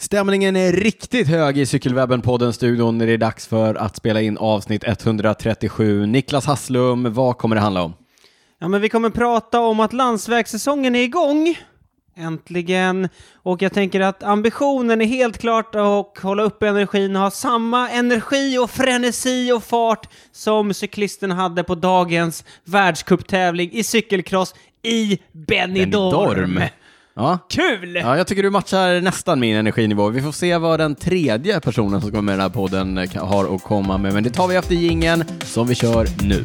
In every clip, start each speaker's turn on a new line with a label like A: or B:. A: Stämningen är riktigt hög i Cykelwebben-podden-studion när det är dags för att spela in avsnitt 137. Niklas Hasslum, vad kommer det handla om?
B: Ja, men vi kommer prata om att landsvägssäsongen är igång. Äntligen. Och jag tänker att ambitionen är helt klart att hålla upp energin och ha samma energi och frenesi och fart som cyklisten hade på dagens världscuptävling i cykelcross i Benidorm.
A: Ja.
B: Kul!
A: ja, jag tycker du matchar nästan min energinivå. Vi får se vad den tredje personen som kommer med i den här podden kan- har att komma med, men det tar vi efter jingeln som vi kör nu.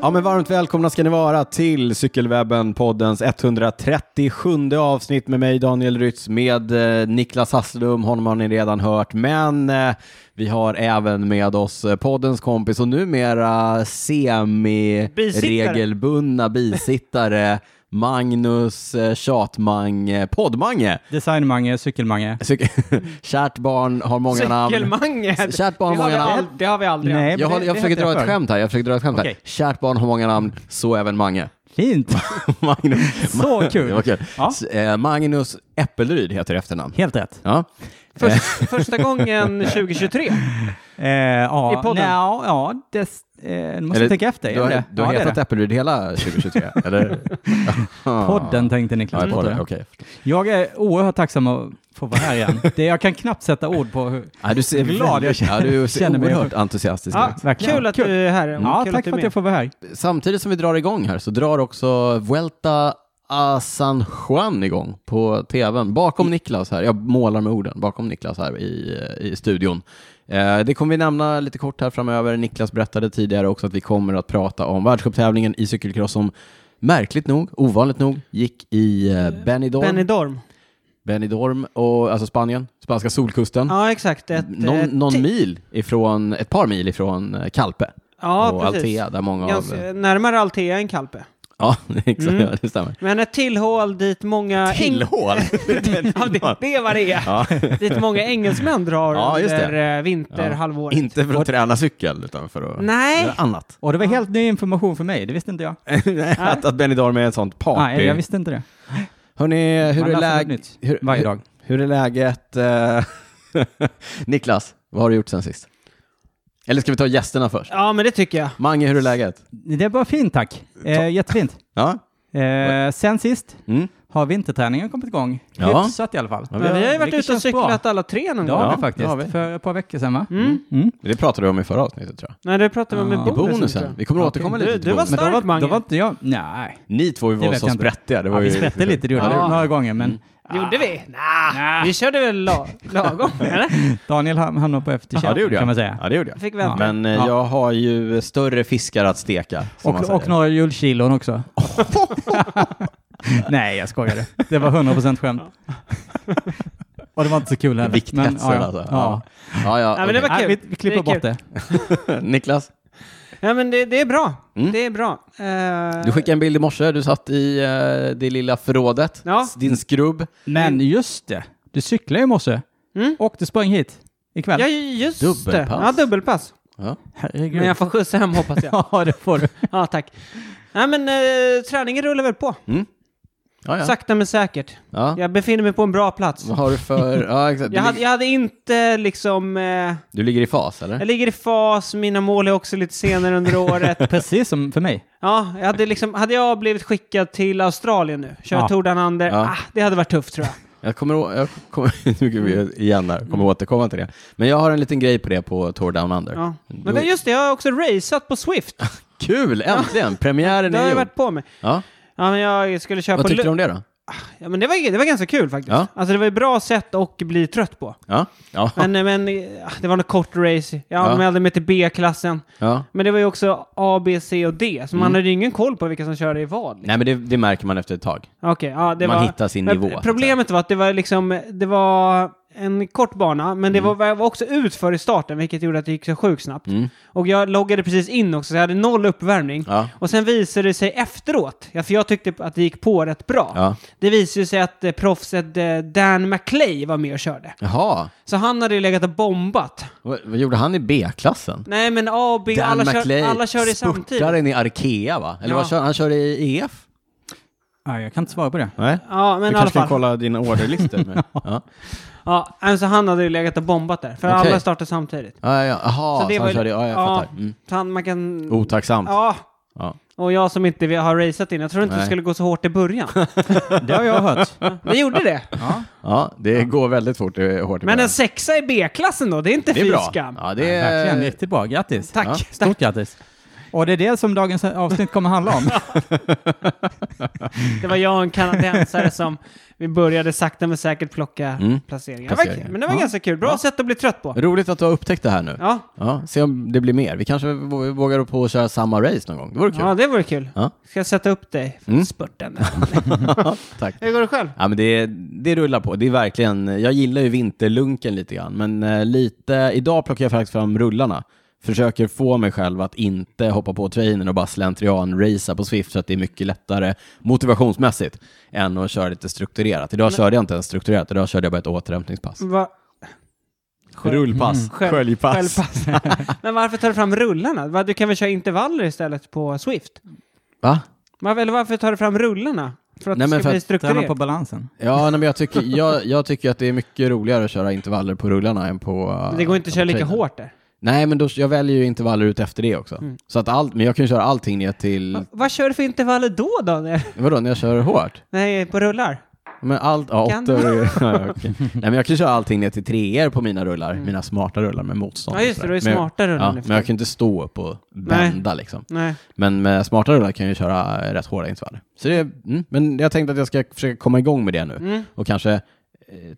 A: Ja, men varmt välkomna ska ni vara till Cykelwebben-poddens 137 avsnitt med mig Daniel Rytz, med eh, Niklas Hasslum, honom har ni redan hört, men eh, vi har även med oss eh, poddens kompis och numera semi-regelbundna bisittare Magnus eh, Tjatmang eh, Poddmange.
C: Designmange, cykelmange.
A: Cyk- Kärt barn har många namn.
B: Cykelmanget!
A: Kärt barn
B: Det
A: har
B: har vi
A: många namn.
B: aldrig- Det har vi aldrig
C: Nej.
B: haft.
C: men
A: Jag,
C: det-
A: har, jag
C: det
A: försöker
C: hette
A: dra
C: jag
A: ett
C: förr.
A: skämt här, jag försöker dra ett skämt här.
C: Okej.
A: Kärt barn har många namn, så även Mange.
C: Fint!
A: Magnus.
C: Så
A: Det var
C: kul!
A: kul.
C: Ja.
A: S- eh, Magnus Äppelryd heter efternamn.
C: Helt rätt.
A: Ja.
B: Först, första gången 2023.
C: Eh, ja,
B: I podden.
C: nja, ja, det, eh, nu måste jag tänka efter.
A: Du har,
C: gör det?
A: du har
C: ja, det är
A: hetat
C: det.
A: Äppelryd hela 2023, eller? Aha.
C: Podden tänkte Niklas.
A: Ja,
C: på, tror
A: podden.
C: jag.
A: Okej.
C: Jag är oerhört tacksam att få vara här igen. Det, jag kan knappt sätta ord på hur...
A: Ja, du ser
C: Glad jag
A: väldigt- ja, du ser
C: känner mig.
A: oerhört entusiastisk
B: Ja,
A: ut.
C: verkligen.
B: kul att
C: Kul.
B: du är här.
C: Ja,
B: kul
C: tack
B: du är
C: för att
B: med.
C: jag får vara här.
A: Samtidigt som vi drar igång här så drar också Vuelta a San Juan igång på tvn. Bakom Niklas här, jag målar med orden, bakom Niklas här i, i studion. Eh, det kommer vi nämna lite kort här framöver. Niklas berättade tidigare också att vi kommer att prata om världscuptävlingen i cykelcross som märkligt nog, ovanligt nog, gick i eh, Benidorm.
B: Benidorm.
A: Benidorm, och, alltså Spanien, spanska solkusten.
B: Ja, exakt. Ett, eh,
A: någon någon
B: ti-
A: mil ifrån, ett par mil ifrån eh, Calpe
B: Ja,
A: och
B: precis.
A: Altea, där många av...
B: Ganska, närmare Altea än Kalpe.
A: Ja, exakt,
B: Mm.
A: ja, det stämmer.
B: Men ett tillhål dit många... Eng-
A: Tillhål?
B: ja, det, det är vad det är.
A: ja.
B: Dit många engelsmän drar
A: Ja, just det.
B: under eh, vinterhalvåret.
A: Inte för att träna cykel, utan för att
B: Nej,
A: göra annat.
C: Och det var helt ny information för mig, det visste inte jag.
A: att, att Benidorm är ett sånt party.
C: Nej, jag visste inte det.
A: Hörrni, hur är,
C: Man läser något
A: läg...
C: nytt
A: hur,
C: varje
A: hur,
C: dag.
A: hur är läget? eh, Niklas, vad har du gjort sen sist? Eller ska vi ta gästerna först?
B: ja men det tycker jag.
A: Mange, hur är läget?
C: Det är bara fint tack. Eh, jättefint.
A: Ja,
C: Eh, sen sist
A: mm.
C: har vinterträningen kommit igång.
A: Ja.
C: Hyfsat i alla fall.
A: Ja,
B: Men vi har ju varit
C: Vilket
B: ute och
C: känns bra.
B: cyklat alla tre någon
C: Det har
A: Ja,
B: gång.
C: vi
A: det
C: faktiskt.
A: har vi.
C: För ett par veckor sedan va?
B: Mm.
C: Mm.
A: det pratade vi om i förra avsnittet tror jag.
B: Nej, det pratade vi om i
C: Ja.
A: I
B: bonusen.
A: bonusen.
B: tror jag.
A: Vi kommer att återkomma
B: Du-
A: lite
B: du
A: till
B: var
A: bonusen.
C: Men då
B: Starkt,
C: var,
B: Mange.
C: då var inte jag... Nej.
A: Ni två var
C: Det vet
A: så
C: jag inte.
A: sprättiga. Det
C: Ja,
A: var
C: vi
A: ju-
C: spätte lite, det gjorde
B: Ja.
C: vi. Några gånger, men
B: Gjorde vi?
A: Ah.
B: Nah. Vi körde väl la- lagom, eller?
C: Daniel ham- hamnade på
A: Ja, det
C: efterkälken
A: gjorde jag.
C: kan man säga.
A: Ja, det gjorde jag.
B: Fick vänta.
A: Men eh,
C: Ja.
A: jag har ju större fiskar att steka. som man
C: Och,
A: säger.
C: och några julkilon också. Nej, jag skojade. Det var 100% skämt. och det var inte så kul heller.
A: Vikthetsare
C: Men, ja, ja.
A: alltså.
C: Ja.
A: Ja, ja,
B: Ja, men det
A: okej.
B: var
C: Nej,
B: kul.
C: vi, vi klipper
B: Det är
C: bort det.
A: Niklas,
B: Ja, men det, det är bra.
A: Mm.
B: Det är bra. Eh,
A: du skickade en bild i morse. Du satt i eh, det lilla förrådet,
B: Ja.
A: S- din skrubb.
C: Men just det, du cyklade i morse
B: Mm.
C: och du sprang hit ikväll.
B: Ja, just det.
A: Dubbelpass.
B: Ja, dubbelpass.
A: Ja.
C: Herregud.
B: Men jag får skjuts hem hoppas jag.
C: Ja, det får du.
B: Ja, tack. Nej, men eh, träningen rullar väl på.
A: Ja, ja.
B: Sakta men säkert.
A: Ja.
B: Jag befinner mig på en bra plats.
A: Vad har du för... Ja, exakt. Du,
B: Jag hade,
A: lig-
B: jag hade inte liksom... Eh,
A: du ligger i fas, eller?
B: jag ligger i fas, mina mål är också lite senare under året.
C: Precis som för mig.
B: Ja, jag hade, liksom, hade jag blivit skickad till Australien nu, kör
C: Ja.
B: Tour Down Under,
A: Ja.
B: ah, det hade varit tufft tror jag.
A: Jag kommer, å- jag kommer, nu går vi igen där, kommer återkomma till det. Men jag har en liten grej på det på Tour Down Under.
B: Ja. Men det, just det, jag har också raceat på Swift.
A: Kul, äntligen! Premiären
B: Det har
A: är
B: jag
A: gjord.
B: varit på mig.
A: Ja.
B: Ja, men jag skulle köra
A: Vad
B: på...
A: tyckte du
B: Lu-
A: om det då?
B: ja, men det, var, det var ganska kul faktiskt.
A: Ja.
B: Alltså det var ett bra sätt att bli trött på.
A: Ja. Ja.
B: Men, men eh, det var något kort race. Jag
A: Ja.
B: anmälde mig till B-klassen.
A: ja.
B: Men det var ju också A, B, C och D, så
A: Mm.
B: man hade ju ingen koll på vilka som körde i vad. Liksom.
A: Nej, men det, det märker man efter ett tag.
B: Okej, ja, det
A: Man
B: var...
A: hittar sin
B: Men
A: nivå, så att
B: Problemet var att det var liksom, det var en kort bana, men det var, var också utför i starten, vilket gjorde att det gick så sjukt snabbt.
A: Mm.
B: Och jag loggade precis in också, så jag hade noll uppvärmning.
A: Ja.
B: Och sen visade det sig efteråt, ja, för jag tyckte att det gick på rätt bra.
A: Ja.
B: Det visade sig att eh, proffset eh, Dan McClay var med och körde.
A: Jaha,
B: Så han hade ju legat och bombat.
A: vad, vad gjorde han i B-klassen?
B: Nej, men A och B, alla, kör, alla körde samtidigt.
A: spurtaren i Arkea va? Eller
B: Ja.
A: vad kör, han körde i E EF?
C: Nej, jag kan inte svara på det.
A: Nej.
B: Ja, men i alla fall.
A: kolla dina orderlistor? Med. ja.
B: Ja, alltså han hade ju legat och bombat där, för
A: Okej.
B: alla startade samtidigt.
A: Ja, ja. Aha, så,
B: det
A: han
B: var ju-
A: körde, ja, jag
B: ja.
A: fattar. Mm.
B: Så han, man kan...
A: Otacksamt.
B: Ja,
A: Ja.
B: och jag som inte har raceat in, jag tror inte det
A: Nej.
B: skulle gå så hårt i början.
C: Det har jag hört.
B: Det gjorde det.
C: Ja.
A: Ja, det går väldigt fort, det är hårt i
B: Men
A: början.
B: en sexa i B-klassen då, det är inte
A: det är
B: fy
A: bra.
B: skam.
A: Ja, det
C: Det...
A: är...
C: Verkligen, riktigt bra. Grattis.
B: Tack.
A: Ja.
B: Stack-
C: Stort grattis. Och det är det som dagens avsnitt kommer handla om.
B: Det var jag och en kanadensare som vi började sakta men säkert plocka
A: Mm.
B: placeringar. Det var,
A: Placeringar.
B: kul, men det var
C: Ja.
B: ganska kul. Bra
C: Ja.
B: sätt att bli trött på.
A: Roligt att du har upptäckt det här nu.
B: Ja,
A: Ja, se om det blir mer. Vi kanske vå- vågar på att köra samma race någon gång. Det vore kul.
B: ja det vore kul.
A: Ja.
B: Ska jag sätta upp dig?
A: Mm.
B: Spurten.
A: Tack.
B: Hur går det själv?
A: Ja, men det, det rullar på. Det är verkligen, jag gillar ju vinterlunken lite grann, men eh, lite, idag plockar jag faktiskt fram rullarna. Försöker få mig själv att inte hoppa på trainen och bara slentrian-racea på Swift så att det är mycket lättare motivationsmässigt än att köra lite strukturerat. Idag körde jag inte ens strukturerat, idag körde jag bara ett återhämtningspass.
B: Va? Sköl-
A: Rullpass,
B: Sköl-
A: sköljpass.
B: Självpass. men varför tar du fram rullarna? Va, Du kan väl köra intervaller istället på Swift?
A: Va?
B: Va- Eller varför tar du fram rullarna? För att
A: Nej,
B: det
A: men för
B: ska bli
A: att
C: Träna
B: strukturerat?
C: på balansen.
A: Ja, nej, men jag tycker, jag, jag tycker att det är mycket roligare att köra intervaller på rullarna än på... eh,
B: Men det går inte att köra
A: på
B: lika
A: trainen.
B: hårt där.
A: Nej, men då, jag väljer ju intervaller ut efter det också.
B: Mm.
A: Så att allt, men jag kan ju köra allting ner till...
B: Va, vad kör du för intervaller då, Daniel?
A: Vadå, när jag kör hårt?
B: Nej, på rullar?
A: Men allt, ja,
B: Kan
A: åttor... ja, okej. Nej, men jag kan ju köra allting ner till treor på mina rullar, mina smarta rullar med motstånd.
B: Mm. Ja, just
A: och
B: det.
A: sådär.
B: Du är
A: Men jag-
B: smarta rullar
A: Ja,
B: nu för
A: men jag
B: tiden.
A: kan ju inte stå upp och bända liksom.
B: Nej.
A: Men med smarta rullar kan jag ju köra eh, rätt hårda intervaller. Så det, mm, men jag tänkte att jag ska försöka komma igång med det nu
B: Mm.
A: och kanske eh,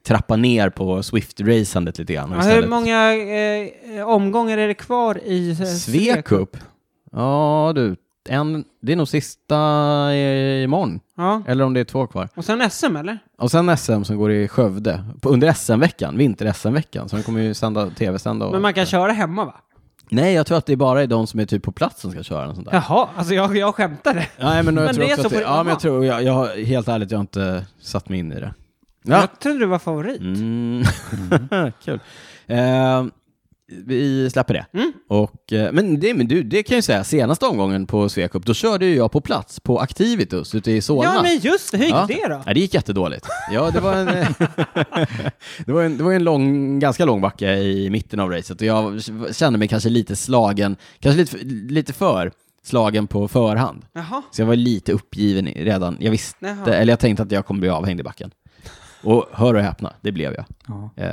A: trappa ner på Swift-racandet lite grann. och
B: Ja, hur
A: istället-
B: många eh, omgångar är det kvar i eh,
A: Svekup? Ja du, en, det är nog sista eh, imorgon.
B: Ja.
A: Eller om det är två kvar.
B: Och sen SM, eller?
A: Och sen SM som går i Skövde, på, under SM-veckan, vinter-SM-veckan, så de kommer ju sända, tv-sända och...
B: Men man kan köra hemma, va?
A: Nej, jag tror att det är bara de som är typ på plats som ska köra något sånt där.
B: Jaha, alltså jag, jag skämtade.
A: Nej, men, jag
B: Men
A: tror
B: det är
A: också
B: så
A: att
B: på
A: det, Ja, men
B: hemma.
A: jag tror, jag, jag, har- helt ärligt, jag har inte satt mig in i det. Ja.
B: Jag trodde du var favorit.
A: Mm. Kul. Eh, vi släpper det.
B: Mm.
A: Och, eh, men det, men du, det kan jag ju säga, senaste omgången på Svecup, då körde ju jag på plats på Activitus ute i Solna.
B: Ja, men just det. Hur gick
A: Ja.
B: det då?
A: Nej, det gick jättedåligt. Ja, det var en, det var en, det var en lång, ganska lång backe i mitten av racet och jag kände mig kanske lite slagen, kanske lite, för- lite för slagen på förhand.
B: Jaha.
A: Så jag var lite uppgiven i- redan. Jag visste,
B: Jaha.
A: eller jag tänkte att jag kommer bli avhängd i backen. Och hör och häpna, det blev jag.
C: Ja.
A: Eh,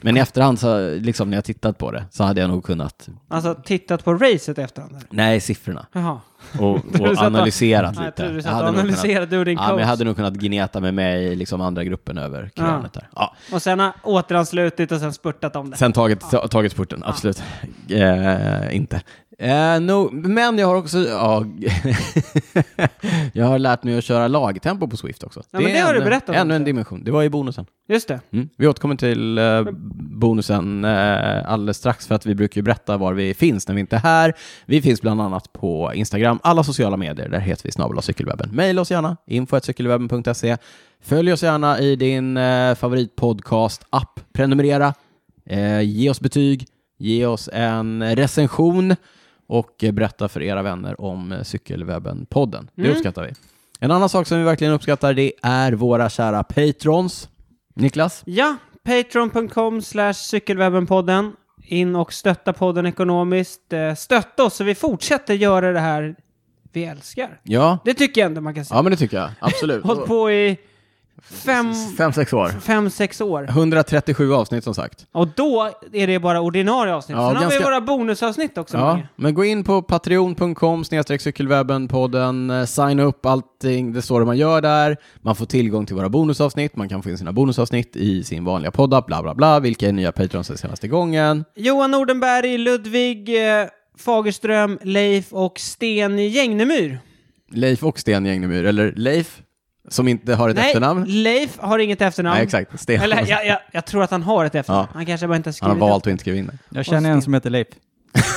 A: Men i efterhand, så, liksom när jag tittat på det, så hade jag nog kunnat,
B: Alltså, tittat på racet i efterhand? eller?
A: nej, siffrorna,
B: Jaha.
A: och,
B: du
A: och
B: satt och-
A: analyserat lite.
B: Ja, jag trodde du
A: Jag
B: satt
A: hade
B: och
A: nog kunnat-
B: analyserade du och din
A: Ja, men
B: coach.
A: jag hade nog kunnat gneta med mig i liksom andra gruppen över krönet där. Ja.
B: Och sen har återanslutit och sen spurtat om det.
A: Sen tagit, ta- tagit spurten, absolut. Eh, inte. Eh, no, men jag har också... ja, jag har lärt mig att köra lagtempo på Swift också.
B: Ja, men det har
A: ännu,
B: du berättat om
A: Ännu en
B: också.
A: dimension. Det var i bonusen.
B: Just det.
A: Mm. Vi återkommer till eh, bonusen eh, alldeles strax för att vi brukar ju berätta var vi finns när vi inte är här. Vi finns bland annat på Instagram, alla sociala medier, där heter vi snabel cykelwebben. Maila oss gärna, info.cykelwebben.se. Följ oss gärna i din eh, favoritpodcast-app, prenumerera, eh, ge oss betyg, ge oss en recension och eh, berätta för era vänner om eh, Cykelwebben-podden. Det
B: Mm.
A: uppskattar vi. En annan sak som vi verkligen uppskattar det är våra kära patrons. Niklas?
B: Ja, patreon.com slash cykelwebbenpodden. In och stötta podden ekonomiskt. Eh, Stötta oss så vi fortsätter göra det här vi älskar.
A: Ja.
B: Det tycker jag ändå man kan säga.
A: ja, men det tycker jag. Absolut.
B: Hållit på i fem,
A: Fem, sex år.
B: fem, sex år.
A: 137 avsnitt som sagt.
B: Och då är det bara ordinarie avsnitt.
A: Ja,
B: Sen har vi
A: ganska-
B: våra bonusavsnitt också.
A: Ja,
B: många.
A: men gå in på patreon.com snedstreck cykelwebben podden, eh, signa upp allting, det står det man gör där, man får tillgång till våra bonusavsnitt, man kan få in sina bonusavsnitt i sin vanliga poddapp, bla bla bla, vilka är nya patrons den senaste gången.
B: Johan Nordenberg, Ludvig eh, Fagerström, Leif och Sten Gängnemyr.
A: Leif och Sten Gängnemyr, eller Leif Som inte har ett
B: Nej,
A: efternamn?
B: Leif har inget efternamn.
A: Nej, exakt. Sten.
B: Eller jag, jag, jag tror att han har ett efternamn.
A: Ja.
B: Han kanske bara inte har
A: Han
B: skrivit
A: har valt att inte skriva in det.
C: Jag känner en som heter Leif.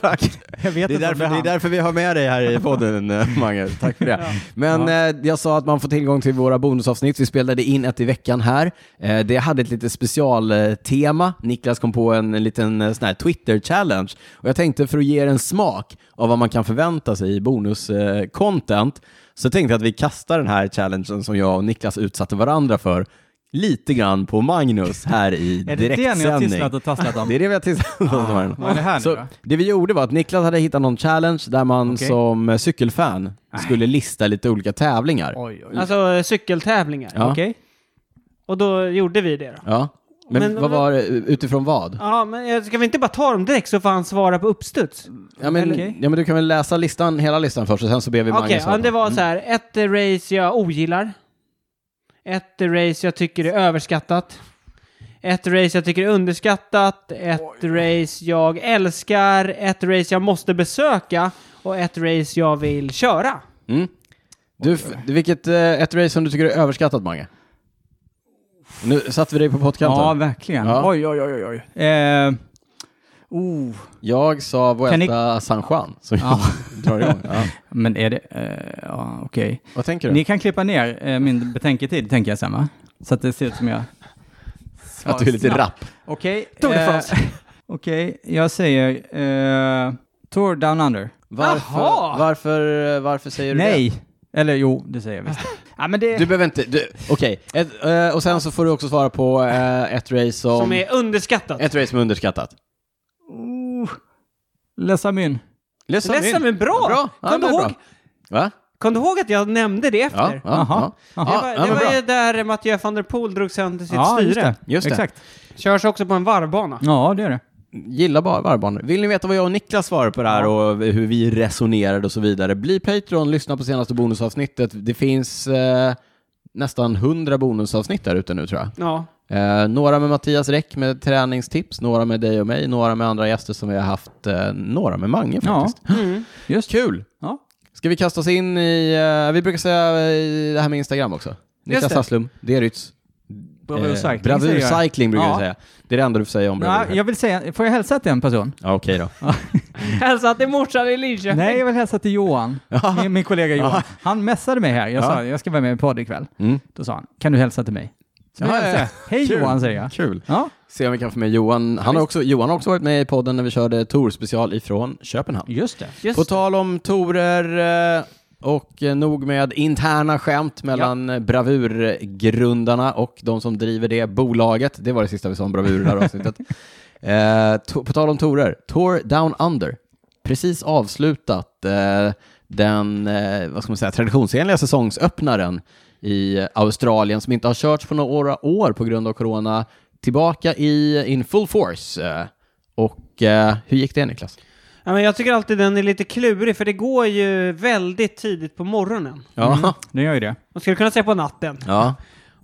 A: Tack.
C: Jag vet
A: Det är,
C: inte
A: därför,
C: om
A: det är
C: det är
A: därför vi har med dig här i podden, eh, Mange. Tack för det. Men eh, jag sa att man får tillgång till våra bonusavsnitt. Vi spelade in ett i veckan här. Eh, det hade ett litet specialtema. Niklas kom på en liten eh, sån här Twitter-challenge. Och jag tänkte för att ge er en smak av vad man kan förvänta sig i bonus-content så tänkte jag att vi kastar den här challengen som jag och Niklas utsatte varandra för lite grann på Magnus här i
C: Är det det ni har
A: direktsändning.
C: tisslat och tasslat om? Ah.
A: Det är det vi har tillsammans.
C: Vad är det här nu
A: Så
C: då?
A: det vi gjorde var att Niklas hade hittat någon challenge där man
C: Okej.
A: som eh, cykelfan skulle lista lite olika tävlingar.
C: Oj, oj.
B: Alltså eh, cykeltävlingar.
A: Ja.
C: Okej.
B: Och då gjorde vi det då.
A: Ja. Men,
B: Men-
A: vad var det, utifrån vad?
B: Ja, men eh, ska vi inte bara ta dem direkt så får han svara på uppstuds?
A: Ja men,
C: Okej.
A: ja men du kan väl läsa listan, hela listan först och sen så ber vi Magnus
B: Okej,
A: svara
B: okay,
A: på.
B: det var så här.
A: Mm.
B: Ett eh, race jag ogillar. Ett eh, race jag tycker är överskattat. Ett race jag tycker är underskattat. Ett race jag älskar. Ett race jag måste besöka. Och ett race jag vill köra.
A: Mm. Du, f- vilket eh, ett race som du tycker är överskattat Mange? Nu satte vi dig på pottkanten.
C: Ja, verkligen.
A: Ja.
C: Oj, oj, oj, oj, oj. Eh, oh.
A: Jag sa Vuelta
C: Kan
A: San Juan som
C: Ja.
A: drar igång. Ja.
C: Men är det... Eh, ja, okej.
A: Vad tänker du?
C: Ni kan klippa ner eh, min betänketid, tänker jag sen, va? Så att det ser ut som jag...
A: Att du är lite
C: Snabbt.
A: rapp.
C: Okej.
B: Tour de
C: eh,
B: France.
C: Okej, jag säger... Eh, Tour Down Under.
A: Varför,
B: Jaha!
A: varför, eh, varför säger du det?
C: Nej! Eller jo, det säger jag visst. ja, men det...
A: Du behöver inte, du- okej. Ett, eh, Och sen så får du också svara på eh, ett race som,
B: Som är underskattat.
A: ett race som är underskattat.
C: Oh. Les Amin.
A: Ledsen min.
B: Ledsen men bra!
A: Bra. Ja,
B: Kom, du
A: men bra.
B: ihåg,
A: Va?
B: kom du ihåg att jag nämnde det
A: Ja,
B: efter?
A: ja, ja.
C: Jaha.
A: ja.
B: Det
C: Jaha.
B: var,
A: ja,
B: det
A: men
B: var ju
A: bra.
B: där Mathieu van der Poel drog sönder sitt
C: just
B: styre.
C: det.
A: Just det.
C: Exakt.
B: Körs också på en varvbana.
C: Ja, det är det.
A: Gilla bara varvbanor. Vill ni veta vad jag och Niklas svarar på det här och hur vi resonerade och så vidare, bli Patreon, lyssna på senaste bonusavsnittet. Det finns eh, nästan 100 bonusavsnitt där ute nu tror jag.
B: Ja.
A: Eh, några med Mattias Räck med träningstips, några med dig och mig, några med andra gäster som vi har haft, eh, några med Mange
C: Ja,
A: faktiskt.
C: just
A: Kul!
C: Ja.
A: Ska vi kasta oss in i, eh, vi brukar säga eh, det här med Instagram också. Niklas
C: det.
A: Hasslum, Derytz.
C: Bravur
A: eh,
C: Cycling
A: Bravur
C: säger jag.
A: Cycling brukar vi
C: Ja.
A: säga. Det är det enda du får säga om Bravur.
C: Ja, jag vill säga, får jag hälsa till en person?
A: Ja, okej då.
B: Hälsa till morsan i Linköping.
C: Nej, jag vill hälsa till Johan, min, min kollega Johan. Han messade mig här, jag
A: Ja.
C: sa jag ska vara med i podd ikväll.
A: Mm.
C: Då sa han, kan du hälsa till mig? Så
A: Ja,
C: jag
A: ja,
C: hälsade.
A: ja.
C: Hej
A: Kul.
C: Johan, säger jag.
A: Kul.
C: Ja,
A: Se om vi kan få med Johan. Han har också, Johan har också varit med i podden när vi körde Tor-special ifrån Köpenhamn.
C: just det.
B: Just
A: På tal om torer eh, och eh, nog med interna skämt mellan eh, bravurgrundarna och de som driver det bolaget. Det var det sista vi sa om bravur i det här avsnittet. Eh, to- på tal om torer, Tour Down Under. Precis avslutat eh, den eh, vad ska man säga, traditionsenliga säsongsöppnaren i Australien som inte har körts på några år på grund av corona. Tillbaka i in full force. Eh, och eh, hur gick det Niklas?
B: Ja, men jag tycker alltid den är lite klurig för det går ju väldigt tidigt på morgonen.
A: Ja.
C: Mm. Nu gör ju det.
B: Man skulle kunna säga på natten.
A: Ja.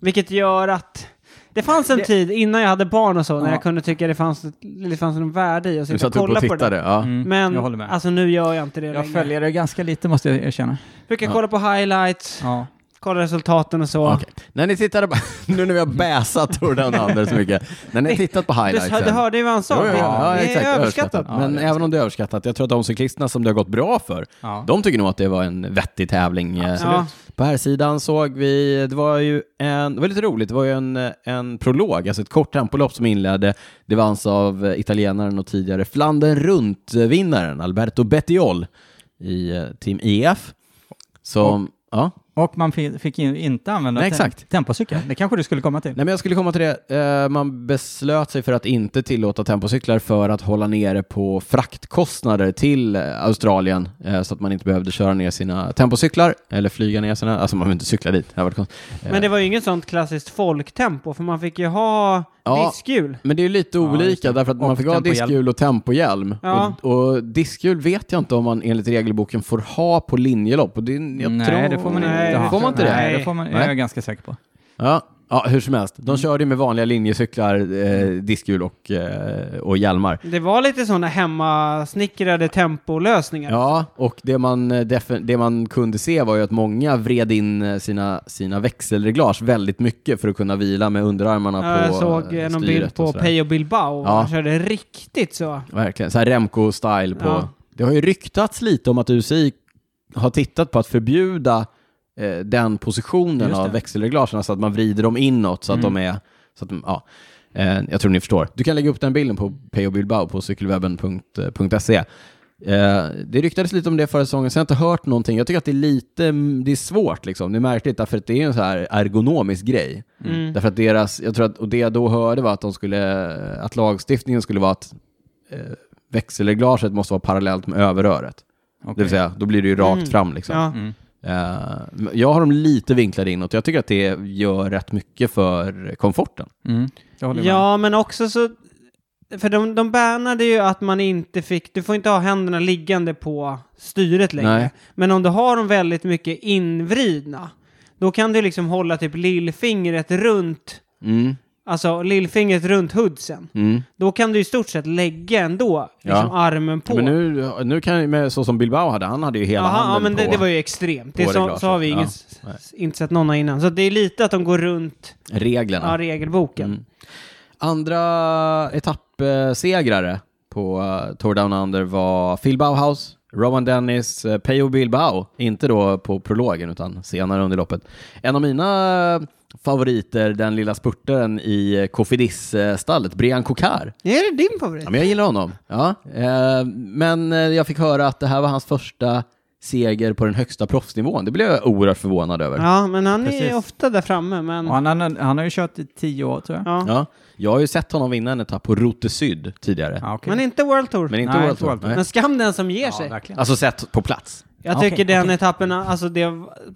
B: Vilket gör att det fanns en tid innan jag hade barn och så när
C: Ja.
B: jag kunde tycka det fanns, det fanns någon värde i att
A: Du
B: sitta och
A: satt upp och
B: Typ kolla på det.
A: tittade,
B: där.
A: ja.
C: Mm,
B: Men
C: jag håller med.
B: alltså nu gör jag inte det
C: jag
B: längre.
C: följer det ganska lite måste jag erkänna.
B: Brukar kolla på highlights,
C: Ja.
B: kolla resultaten och så.
A: Okej. När ni tittade på, nu när vi har bäsat Tordan Anders så mycket, när ni har tittat på
B: Du,
A: highlightsen.
B: du hörde ju vad han sa.
A: ja, ja, ja,
B: det är
A: exakt,
B: överskattat.
C: Ja,
A: Men
C: det är
A: även om det är överskattat, jag tror att de cyklisterna som det har gått bra för,
C: Ja.
A: de tycker nog att det var en vettig tävling. eh,
B: Absolut.
A: På här sidan såg vi, det var ju en, det var lite roligt, det var ju en, eh, en prolog, alltså ett kort tempolopp som inledde, det vanns av eh, italienaren och tidigare Flandern runt-vinnaren Alberto Bettiol i eh, Team EF. Som, ja.
C: Och man fi- fick ju inte använda
A: Nej,
C: tem-
A: exakt.
C: tempocykel. Det kanske du skulle komma till.
A: Nej, men jag skulle komma till det. Eh, Man beslöt sig för att inte tillåta tempocyklar för att hålla nere på fraktkostnader till eh, Australien eh, så att man inte behövde köra ner sina tempocyklar eller flyga ner sina. Alltså man behöver inte cykla dit. Det hade varit konstigt. Eh,
B: Men det var ju inget sånt klassiskt folktempo, för man fick ju ha
A: Ja.
B: diskhjul.
A: men det är ju lite
C: just
A: olika
C: det.
A: därför att man
C: Och
A: fick ha
C: tempohjälm.
A: diskhjul och tempohjälm.
B: Ja.
A: Och, och diskhjul vet jag inte om man enligt regelboken får ha på linjelopp. Och det, jag
C: Nej,
A: tror...
C: det får man inte
B: Nej,
C: ha.
A: Får man inte det?
C: Nej, det får man,
A: Nej.
C: jag är ganska säker på.
A: Ja, Ja, hur som helst. De körde ju med vanliga linjecyklar, eh, diskhjul och, eh, och hjälmar.
B: Det var lite sådana hemmasnickrade tempolösningar.
A: Ja, och det man, eh, defi- det man kunde se var ju att många vred in eh, sina, sina växelreglage väldigt mycket för att kunna vila med underarmarna
B: Ja,
A: på
B: jag såg
A: eh,
B: eh, någon
A: styret
B: bild på
A: och sådär.
B: Peyo Bilbao.
A: Ja.
B: Han körde riktigt så.
A: Verkligen, så här Remco-style på...
B: Ja.
A: Det har ju ryktats lite om att UCI har tittat på att förbjuda eh, den positionen
C: Just det.
A: av växelreglagen, så att man vrider dem inåt så att de är... Så att de, ja. eh, jag tror ni förstår. Du kan lägga upp den bilden på Peo Bilbao på cykelwebben.se. E. Eh, det ryktades lite om det förra säsongen, så jag har inte hört någonting. Jag tycker att det är lite mm, det är svårt, liksom. det är märkligt, därför att det är en så här ergonomisk grej.
B: Mm.
A: Därför att deras, jag tror att, och det jag då hörde var att de skulle, att lagstiftningen skulle vara att eh, växelreglaget måste vara parallellt med överröret. Det
C: Okej.
A: vill säga, då blir det ju rakt
B: Mm.
A: fram liksom.
B: Ja.
C: Mm.
A: Eh, men jag har dem lite vinklade inåt. Jag tycker att det gör rätt mycket för komforten.
C: Mm. Jag håller med.
B: ja, men också så... För de, de bärnade ju att man inte fick... Du får inte ha händerna liggande på styret längre.
A: Nej.
B: Men om du har dem väldigt mycket invridna, då kan du liksom hålla typ lillfingret runt...
A: Mm.
B: Alltså lillfingret runt hoodsen.
A: Mm.
B: Då kan du i stort sett lägga ändå liksom
A: Ja.
B: armen på.
A: Men nu, nu kan jag, med så som Bilbao hade, han hade ju hela
B: Jaha, ja,
A: handen
B: men det,
A: på.
B: det var ju extremt. Det
A: på
B: är så,
A: reglaget.
B: så har vi
A: Ja.
B: ingen,
A: Nej.
B: inte sett någon innan. Så det är lite att de går runt
A: Reglerna.
B: ja, regelboken.
A: Mm. Andra etappsegrare på eh, Tour Down Under var Phil Bauhaus, Rowan Dennis, eh, Peyo Bilbao, inte då på prologen utan senare under loppet. En av mina eh, favoriter, den lilla spurtaren i eh, Cofidis-stallet, Brian Kokar.
B: Är det din favorit?
A: Ja, men jag gillar honom. Ja. Eh, Men eh, jag fick höra att det här var hans första seger på den högsta proffsnivån. Det blev jag oerhört förvånad över.
B: Ja, men han
C: Precis.
B: är ofta där framme. Men...
C: Och Han, han, han har ju kört i tio år tror jag.
B: Ja.
A: Ja. Jag har ju sett honom vinna en etapp på Route Syd tidigare.
C: Ja, okej.
B: Men inte World Tour.
A: Men
B: Men,
A: inte
C: Nej,
A: World
C: inte
A: Tour.
C: World Tour.
A: Nej.
B: skam den som ger
C: ja,
B: sig.
C: verkligen.
A: Alltså sett på plats.
B: Jag
C: Okej,
B: tycker den
C: okej.
B: etappen, alltså det,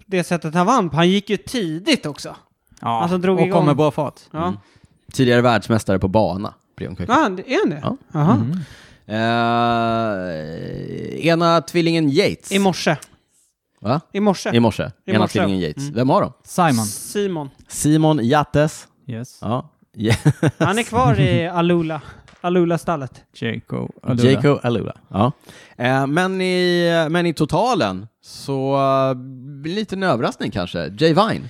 B: det sättet han vann på, han gick ju tidigt också.
C: Ja.
B: Alltså, drog
C: och
B: igång.
C: kom med bra fart.
B: Ja.
A: Tidigare världsmästare på bana. Brian Kirkwood.
B: Ah, det- är han det?
A: Ja.
B: Jaha.
A: Eh, ena tvillingen Yates.
B: I morse.
A: Va?
B: I morse.
A: I morse. ena
B: morse.
A: tvillingen Yates. Vem har de?
C: Simon.
B: Simon.
A: Simon Yates.
C: Yes.
A: Ja. Ja.
B: Han är kvar i Alula. Alula-stallet.
C: Jaco. Aduda.
A: Jaco Alula. Ja. Eh, men, i, men i totalen så eh, lite en överraskning kanske. Jay Vine.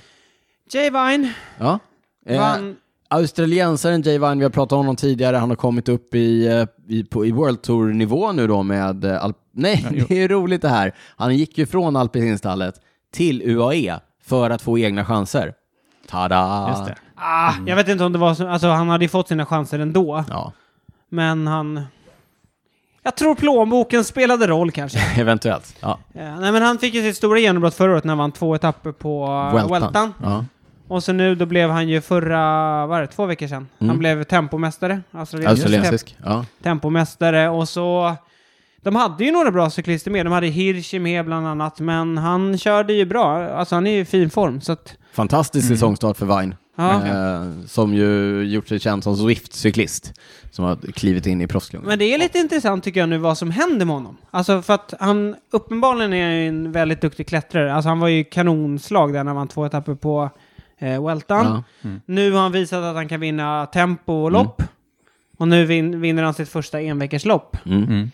B: Jay Vine
A: Ja. Eh,
B: vann
A: Australiensaren Jay Vine, vi har pratat om honom tidigare, han har kommit upp i, eh, i, på, i World Tour-nivå nu då med... eh, Alp- Nej,
C: Ja, jo.
A: det är roligt det här. Han gick ju från alpininstallet till UAE för att få egna chanser. Tada!
C: Just det.
B: Ah, Jag vet inte om det var så, alltså han hade ju fått sina chanser ändå,
A: Ja,
B: men han... Jag tror plånboken spelade roll kanske.
A: eventuellt. Ja,
B: Eh, nej men han fick ju sitt stora genombrott förra året när han vann två etapper på
A: Vueltan.
B: Weltan. Weltan.
A: Ja.
B: Och så nu då blev han ju förra, vad är det, två veckor sedan. Han blev tempomästare, australiensisk
A: Mm. Australiensisk. Ja.
B: tem- tempomästare och så... De hade ju några bra cyklister med, de hade Hirschi med bland annat, men han körde ju bra, alltså han är ju i fin form så att...
A: Fantastisk
C: Mm.
A: säsongstart för Vine.
B: Ja.
A: Eh, som ju gjort sig känd som Swift-cyklist. Som har klivit in i proffsklungan.
B: Men det är lite intressant tycker jag nu vad som händer med honom. Alltså för att han, uppenbarligen är han ju en väldigt duktig klättrare. Alltså han var ju kanonslag där när han vann två etapper på eh, Weltan.
A: Ja.
B: Nu har han visat att han kan vinna tempo och lopp. Och nu vin, vinner han sitt första enveckorslopp.
A: Mm.
C: Mm.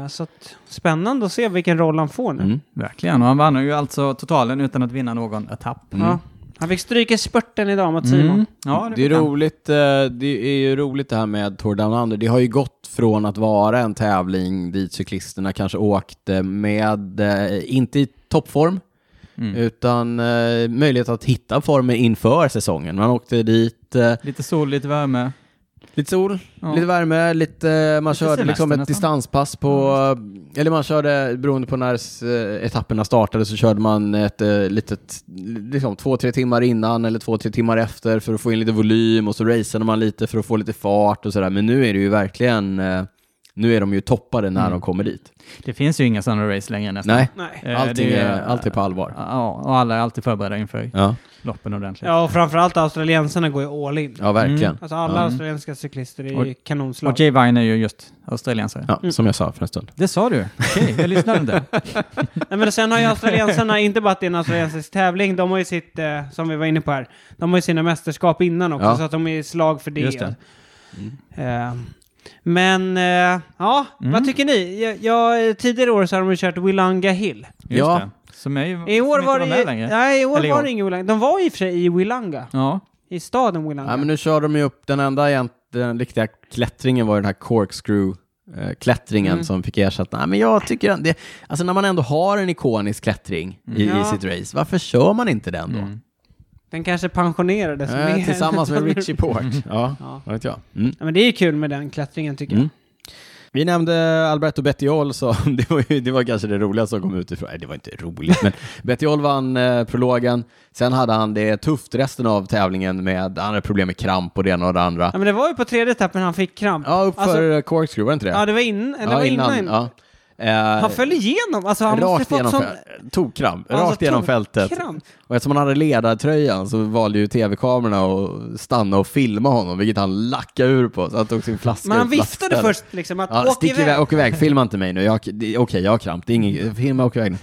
B: Eh, så att, spännande att se vilken roll han får nu.
A: Mm.
C: Verkligen. Och han vann ju alltså totalen utan att vinna någon etapp.
B: Ja. Han fick stryka i spurten idag mot Simon.
C: Mm. Ja,
A: Det är
C: fick han.
A: roligt, eh, det är ju roligt det här med Tour Down Under. Det har ju gått från att vara en tävling dit cyklisterna kanske åkte med, eh, inte i toppform,
C: Mm.
A: utan eh, möjlighet att hitta formen inför säsongen. Man åkte dit, eh,
C: Lite sol, lite värme.
A: lite sol,
C: Ja.
A: lite värme, lite, man körde
C: semester
A: liksom ett
C: nästan.
A: distanspass på, eh, eller man körde, beroende på när eh, etapperna startade, så körde man ett eh, litet, liksom två, tre timmar innan eller två, tre timmar efter för att få in lite volym och så raceade man lite för att få lite fart och sådär. Men nu är det ju verkligen eh, Nu är de ju toppade när
C: Mm.
A: de kommer dit.
C: Det finns ju inga sådana race längre nästan.
A: Nej,
B: Nej.
C: Eh,
A: allting
C: det
A: är, allt är på allvar.
C: Ja, och alla är alltid förberedda inför
A: Ja,
C: loppen ordentligt.
B: Ja, och framförallt australiensarna går ju all in.
A: ja verkligen.
B: Alltså alla
C: Mm.
B: australienska cyklister är ju
C: Och-
B: kanonslag.
C: Och Jay Vine är ju just australiensare.
A: Ja, som jag sa för en stund.
C: Det sa du? Okej, jag lyssnade inte.
B: Nej, men sen har ju australiensarna inte bara att det är en australiensisk tävling, de har ju sitt, eh, som vi var inne på här, de har ju sina mästerskap innan också,
A: Ja.
B: så att de är i slag för det.
C: Just det.
B: Eh, men, eh, ja,
C: Mm.
B: vad tycker ni? Jag, jag, tidigare år så har de ju kört Willanga Hill.
C: Just
A: Ja.
C: det. Som är ju...
B: I år
C: som inte
B: var det
C: med
B: ju,
C: längre.
B: nej, i år
C: Eller i
B: var
C: år.
B: det ingen Willanga. De var i och för sig i Willanga,
C: Ja.
B: i staden Willanga.
A: Ja, men nu kör de ju upp, den enda egent, den riktiga klättringen var ju den här corkscrew-klättringen
B: Mm.
A: som fick ersätta. Nej, men jag tycker att det, alltså när man ändå har en ikonisk klättring i,
B: Mm. Ja.
A: i sitt race, varför kör man inte den då?
C: Mm.
B: Den kanske pensionerades.
A: Eh,
B: med-
A: tillsammans med Richie Port. Ja,
B: Ja.
A: vad vet jag. Mm.
B: Ja, men det är ju kul med den klättringen Mm. tycker jag.
A: Mm. Vi nämnde Alberto Bettiol, så det var, ju, det var kanske det roligaste som kom ut ifrån. Nej, det var inte roligt, men Bettiol vann eh, prologen. Sen hade han det tufft resten av tävlingen med, han hade problem med kramp och det ena och det andra.
B: Ja, men det var ju på tredje etappen han fick kramp.
A: Ja, uppför
B: Alltså-
A: alltså, corkscrew, var det inte det?
B: Ja, det var, in, det
A: Ja,
B: var innan.
A: ja. Eh,
B: Han föll igenom. Alltså, han
A: rakt
B: måste
A: genom,
B: fått sån...
A: fält- tog kramp,
B: Alltså,
A: rakt genom
B: tog
A: fältet.
B: kramp.
A: Och eftersom han hade ledartröjan så valde ju tv-kamerorna att stanna och filma honom, vilket han lackade ur på. Så han tog sin flaska
B: Men han
A: ur
B: viftade
A: plaststället.
B: först liksom att
A: Ja,
B: åk
A: stick
B: iväg.
A: iväg, åk iväg, filma inte mig nu. Jag- det- Okej, jag har kramp, det är ingen, filma, åk iväg nu.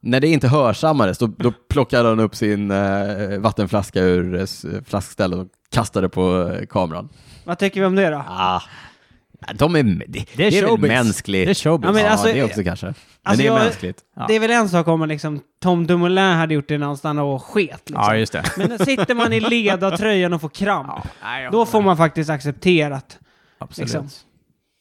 A: När det inte hörsammades, då, då plockade han upp sin eh, vattenflaska ur eh, s- flaskstället och kastade på eh, kameran.
B: Vad tycker vi om det då?
A: Ah, de är, det, det är,
C: Det är
A: väl
C: showbiz.
A: mänskligt.
C: Det är showbiz.
B: Ja, men
A: ja,
B: alltså-
A: det också kanske. Men
B: Alltså,
A: det är
B: jag-
A: mänskligt.
C: Ja.
B: Det är väl en sak om man liksom Tom Dumoulin hade gjort det när han stannade och sket. Liksom.
C: Ja, just det.
B: Men sitter man i ledartröjan och får kramp,
C: Ja,
B: då får man faktiskt acceptera att
C: Absolut.
B: liksom.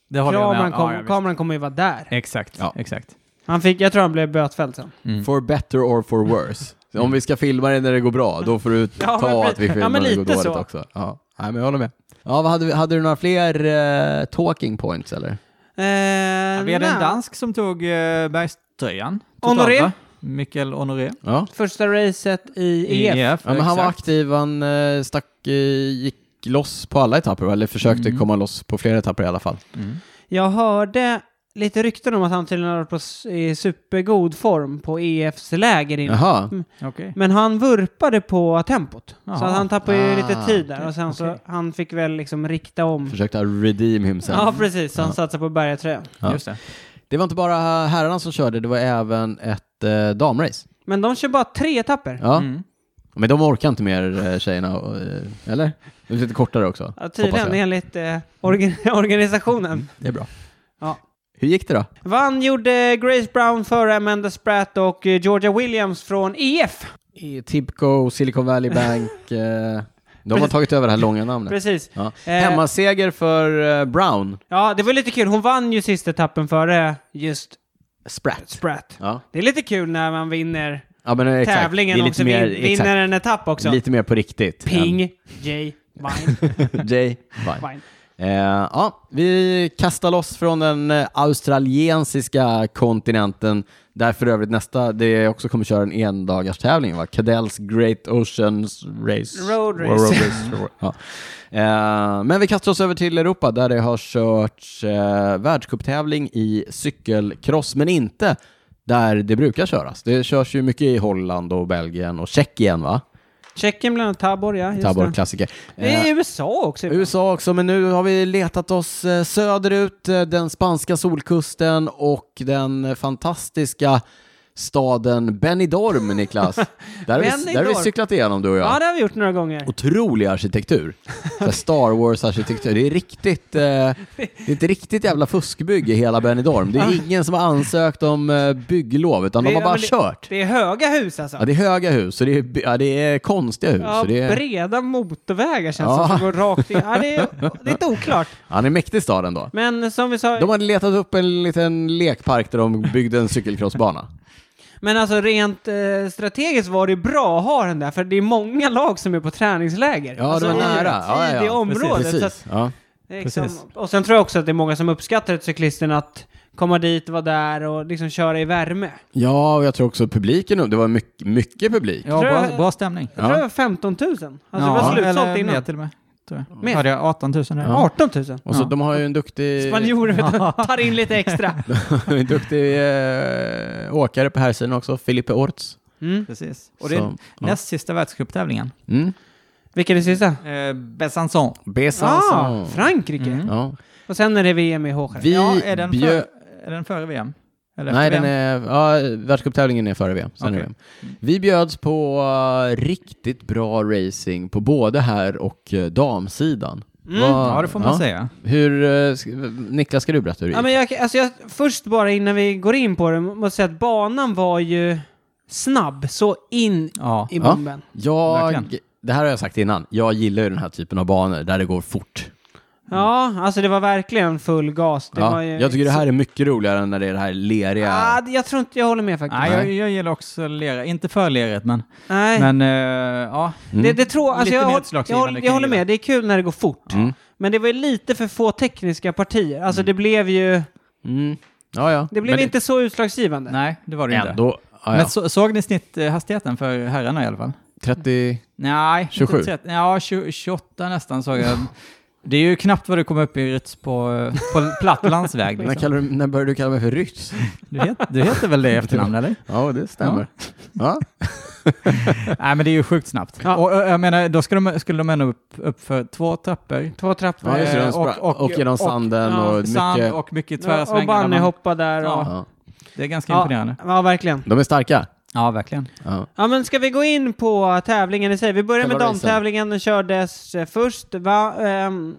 C: Det håller jag med om.
B: kameran, kom,
C: Ja, ja, visst.
B: kameran kommer ju vara där.
C: Exakt,
A: Ja.
C: exakt.
B: Han fick, jag tror han blev bötfälld sen.
A: For better or for worse. Så Om vi ska filma det när det går bra, då får du
B: Ja,
A: ta
B: men
A: att vi
B: precis.
A: filmar
B: Ja, men
A: när det går
B: lite
A: dåligt
B: så.
A: också. Ja. Nej, men jag håller med. Ja, vad hade, vi, hade du några fler eh, talking points eller?
B: Eh,
C: Ja, vi hade en
B: nej.
C: dansk som tog eh, bergströjan. totalt,
B: Honoré.
C: va? Mikael Honoré.
A: Ja,
B: Första racet i E
C: E
B: EF.
A: ja men han var
C: exakt.
A: aktiv, han eh, stack, eh, gick loss på alla etapper, va? eller försökte
B: Mm.
A: komma loss på flera etapper i alla fall.
C: Mm.
B: Jag hörde lite rykten om att han tydligen var på s- i supergod form på EFs läger innan.
A: Jaha,
C: Okej.
B: Men han vurpade på tempot. Så
C: Jaha.
B: att han tappade ju
A: Ah,
B: lite tid där. Och sen
C: okej.
B: så han fick väl liksom rikta om.
A: försökte redeem himself.
B: Ja, precis. Så han satsade på bärgartröjan.
A: Ja.
C: Just det.
A: Det var inte bara herrarna som körde, det var även ett eh, damrace.
B: Men de kör bara tre etapper.
A: Ja.
C: Mm.
A: Men de orkar inte mer eh, tjejerna, och, eh, eller? De är lite kortare också.
B: Ja,
A: hoppas
B: tydligen,
A: jag.
B: enligt eh, orga- organisationen.
A: Det är bra.
B: Ja.
A: Hur gick det då?
B: Vann gjorde Grace Brown före Amanda Spratt och eh, Georgia Williams från E EF.
A: Tibco, Silicon Valley Bank. eh, de har tagit över det här långa namnet.
B: Precis.
A: Ja.
B: Eh,
A: Hemmaseger för eh, Brown.
B: Ja, det var lite kul. Hon vann ju sista etappen före just
A: Spratt.
B: Spratt.
A: Ja,
B: Det är lite kul när man vinner
A: ja men eh, exakt.
B: tävlingen
A: det är
B: och
A: lite
B: också
A: mer,
B: vin- vinner
A: exakt,
B: en etapp också.
A: Lite mer på riktigt.
B: Ping, J, Vine,
A: än Jay Vine.
B: Vine.
A: Eh, ja, vi kastar loss från den eh, australiensiska kontinenten, där för övrigt nästa, det också kommer köra en endagars tävling va? Cadells Great Oceans Race.
B: Road race.
A: ja. eh, men vi kastar oss över till Europa, där det har körts eh, världscuptävling i cykelcross, men inte där det brukar köras. Det körs ju mycket i Holland och Belgien och Tjeckien va?
B: Tjeckien bland annat, Tabor, ja. Just
A: Tabor,
B: det.
A: klassiker.
B: det är USA också.
A: USA också, men nu har vi letat oss eh, söderut, eh, den spanska solkusten och den eh, fantastiska staden Benidorm, Niklas. Där har, vi, där har vi
B: Benidorm.
A: cyklat igenom du och jag.
B: Ja, det har vi gjort några gånger.
A: Otrolig arkitektur. Så här Star Wars-arkitektur. Det är riktigt, eh, det är ett riktigt jävla fuskbygge i hela Benidorm. Det är ingen som har ansökt om eh, bygglov, utan de
B: Det-
A: har bara
B: men det-
A: kört.
B: Det är höga hus alltså.
A: Ja, det är höga hus, och det är, by- ja, det är konstiga hus.
B: Ja,
A: och det är,
B: breda motorvägar känns
A: Ja.
B: som, som går rakt in. Ja, det, är, det är lite oklart.
A: ja, det är en mäktig stad ändå.
B: Men som vi sa,
A: De hade letat upp en liten lekpark där de byggde en cykelcrossbana.
B: men alltså rent eh, strategiskt var det bra att ha den där, för det är många lag som är på träningsläger.
A: Ja,
B: alltså,
A: det var
B: i-
A: nära. Ja,
B: I
A: ja,
B: det
A: ja.
B: området. Så att
A: Precis. Ja.
B: Det är Liksom,
C: Precis.
B: och sen tror jag också att det är många som uppskattar ett cyklisten att komma dit, vara där och liksom köra i värme.
A: ja, och jag tror också publiken, det var mycket, mycket publik.
C: Ja,
B: Tror jag-
C: bra, bra stämning.
B: Jag tror det var 15 000. Alltså det
C: Ja,
B: var slutsålt
C: eller mer
B: innan.
C: till och med. tror
B: Mer.
C: jag. Hade jag 18 000 där?
A: Ja.
B: 18 000?
A: Och så
C: Ja.
A: de har ju en duktig,
B: Spanjorer vet du, tar in lite extra.
A: en duktig eh, åkare på här sidan också, Filipe Orts.
B: Mm.
C: Precis. Och det är
A: Så, ja.
C: näst sista världscuptävlingen.
A: Mm.
B: Vilka är det sista?
C: Eh, Besançon.
A: Besançon.
B: Ah, Frankrike.
C: Mm.
A: Ja.
B: Och sen är det VM i Håkan.
A: Vi
C: ja, är den,
A: bjöd...
C: för, är den före VM? Eller
A: Nej,
C: efter
A: den
C: VM?
A: är... Ja, världscuptävlingen är före VM. Sen är det
C: Okej.
A: VM. Vi bjöds på eh, riktigt bra racing på både här och eh, damsidan.
B: Mm.
A: Vad-
C: Ja, det får man
A: ja.
C: säga.
A: Hur, eh, sk- Niklas, ska du berätta hur det gick?
B: Ja, men jag, alltså jag, först bara innan vi går in på det, måste säga att banan var ju snabb, så in
C: Ja.
B: i
A: Ja.
B: bomben.
A: Jag,
C: Verkligen.
A: det här har jag sagt innan, jag gillar ju den här typen av banor där det går fort.
B: Ja, alltså det var verkligen full gas. Det var
A: Ja,
B: ju
A: jag tycker det här är mycket roligare än när det är det här leriga.
B: Ah, det- jag tror inte jag håller med faktiskt.
C: Nej, jag, jag gillar också lera. Inte för lerigt, men...
B: Nej.
C: Men, eh, ja.
A: Mm.
B: Det, det tror, alltså
C: Lite
B: jag,
C: mer
B: håll- jag,
C: utslagsgivande
B: håll-
C: kan
B: jag håller
C: jag gilla.
B: med, det är kul när det går fort.
A: Mm.
B: Men det var ju lite för få tekniska partier. Alltså det blev ju,
A: Mm. Ja, ja.
B: det blev
A: Men
B: inte så utslagsgivande.
C: Nej, det var det inte.
A: Ändå, ja, ja.
C: Men så, såg ni snitthastigheten för herrarna i alla fall?
B: Liksom.
A: 30...
C: Nej, inte
A: 27.
C: 30, ja, 20, 28 nästan såg jag. Det är ju knappt vad du kommer upp i rytts på, eh, på platt landsväg.
A: När,
C: Liksom.
A: kallar du, när började du kalla mig för ryss?
C: Du, het, du heter väl det i efternamn, eller?
A: Ja, det stämmer. Ja.
C: Nej, men det är ju sjukt snabbt.
B: Ja.
C: Och, eh, jag menar, då skulle de, skulle de ändå upp, upp för två trappor.
B: Två trappor.
A: Ja, just det.
C: Eh,
A: De sprang-
C: och- och-
A: och genom
C: och-
A: sanden
B: ja,
A: och mycket...
C: Sand och mycket tvära
B: och
C: svängar. där
B: Bunny
C: man-
B: hoppade där. Och,
C: Ja.
A: Ja.
C: Det är ganska
B: ja,
C: imponerande.
B: ja, verkligen.
A: De är starka.
C: Ja, verkligen.
A: Ja.
B: Ja, men ska vi gå in på tävlingen i sig? Vi börjar med
A: Själva racen.
B: damtävlingen, den kördes eh, först. Va, ehm,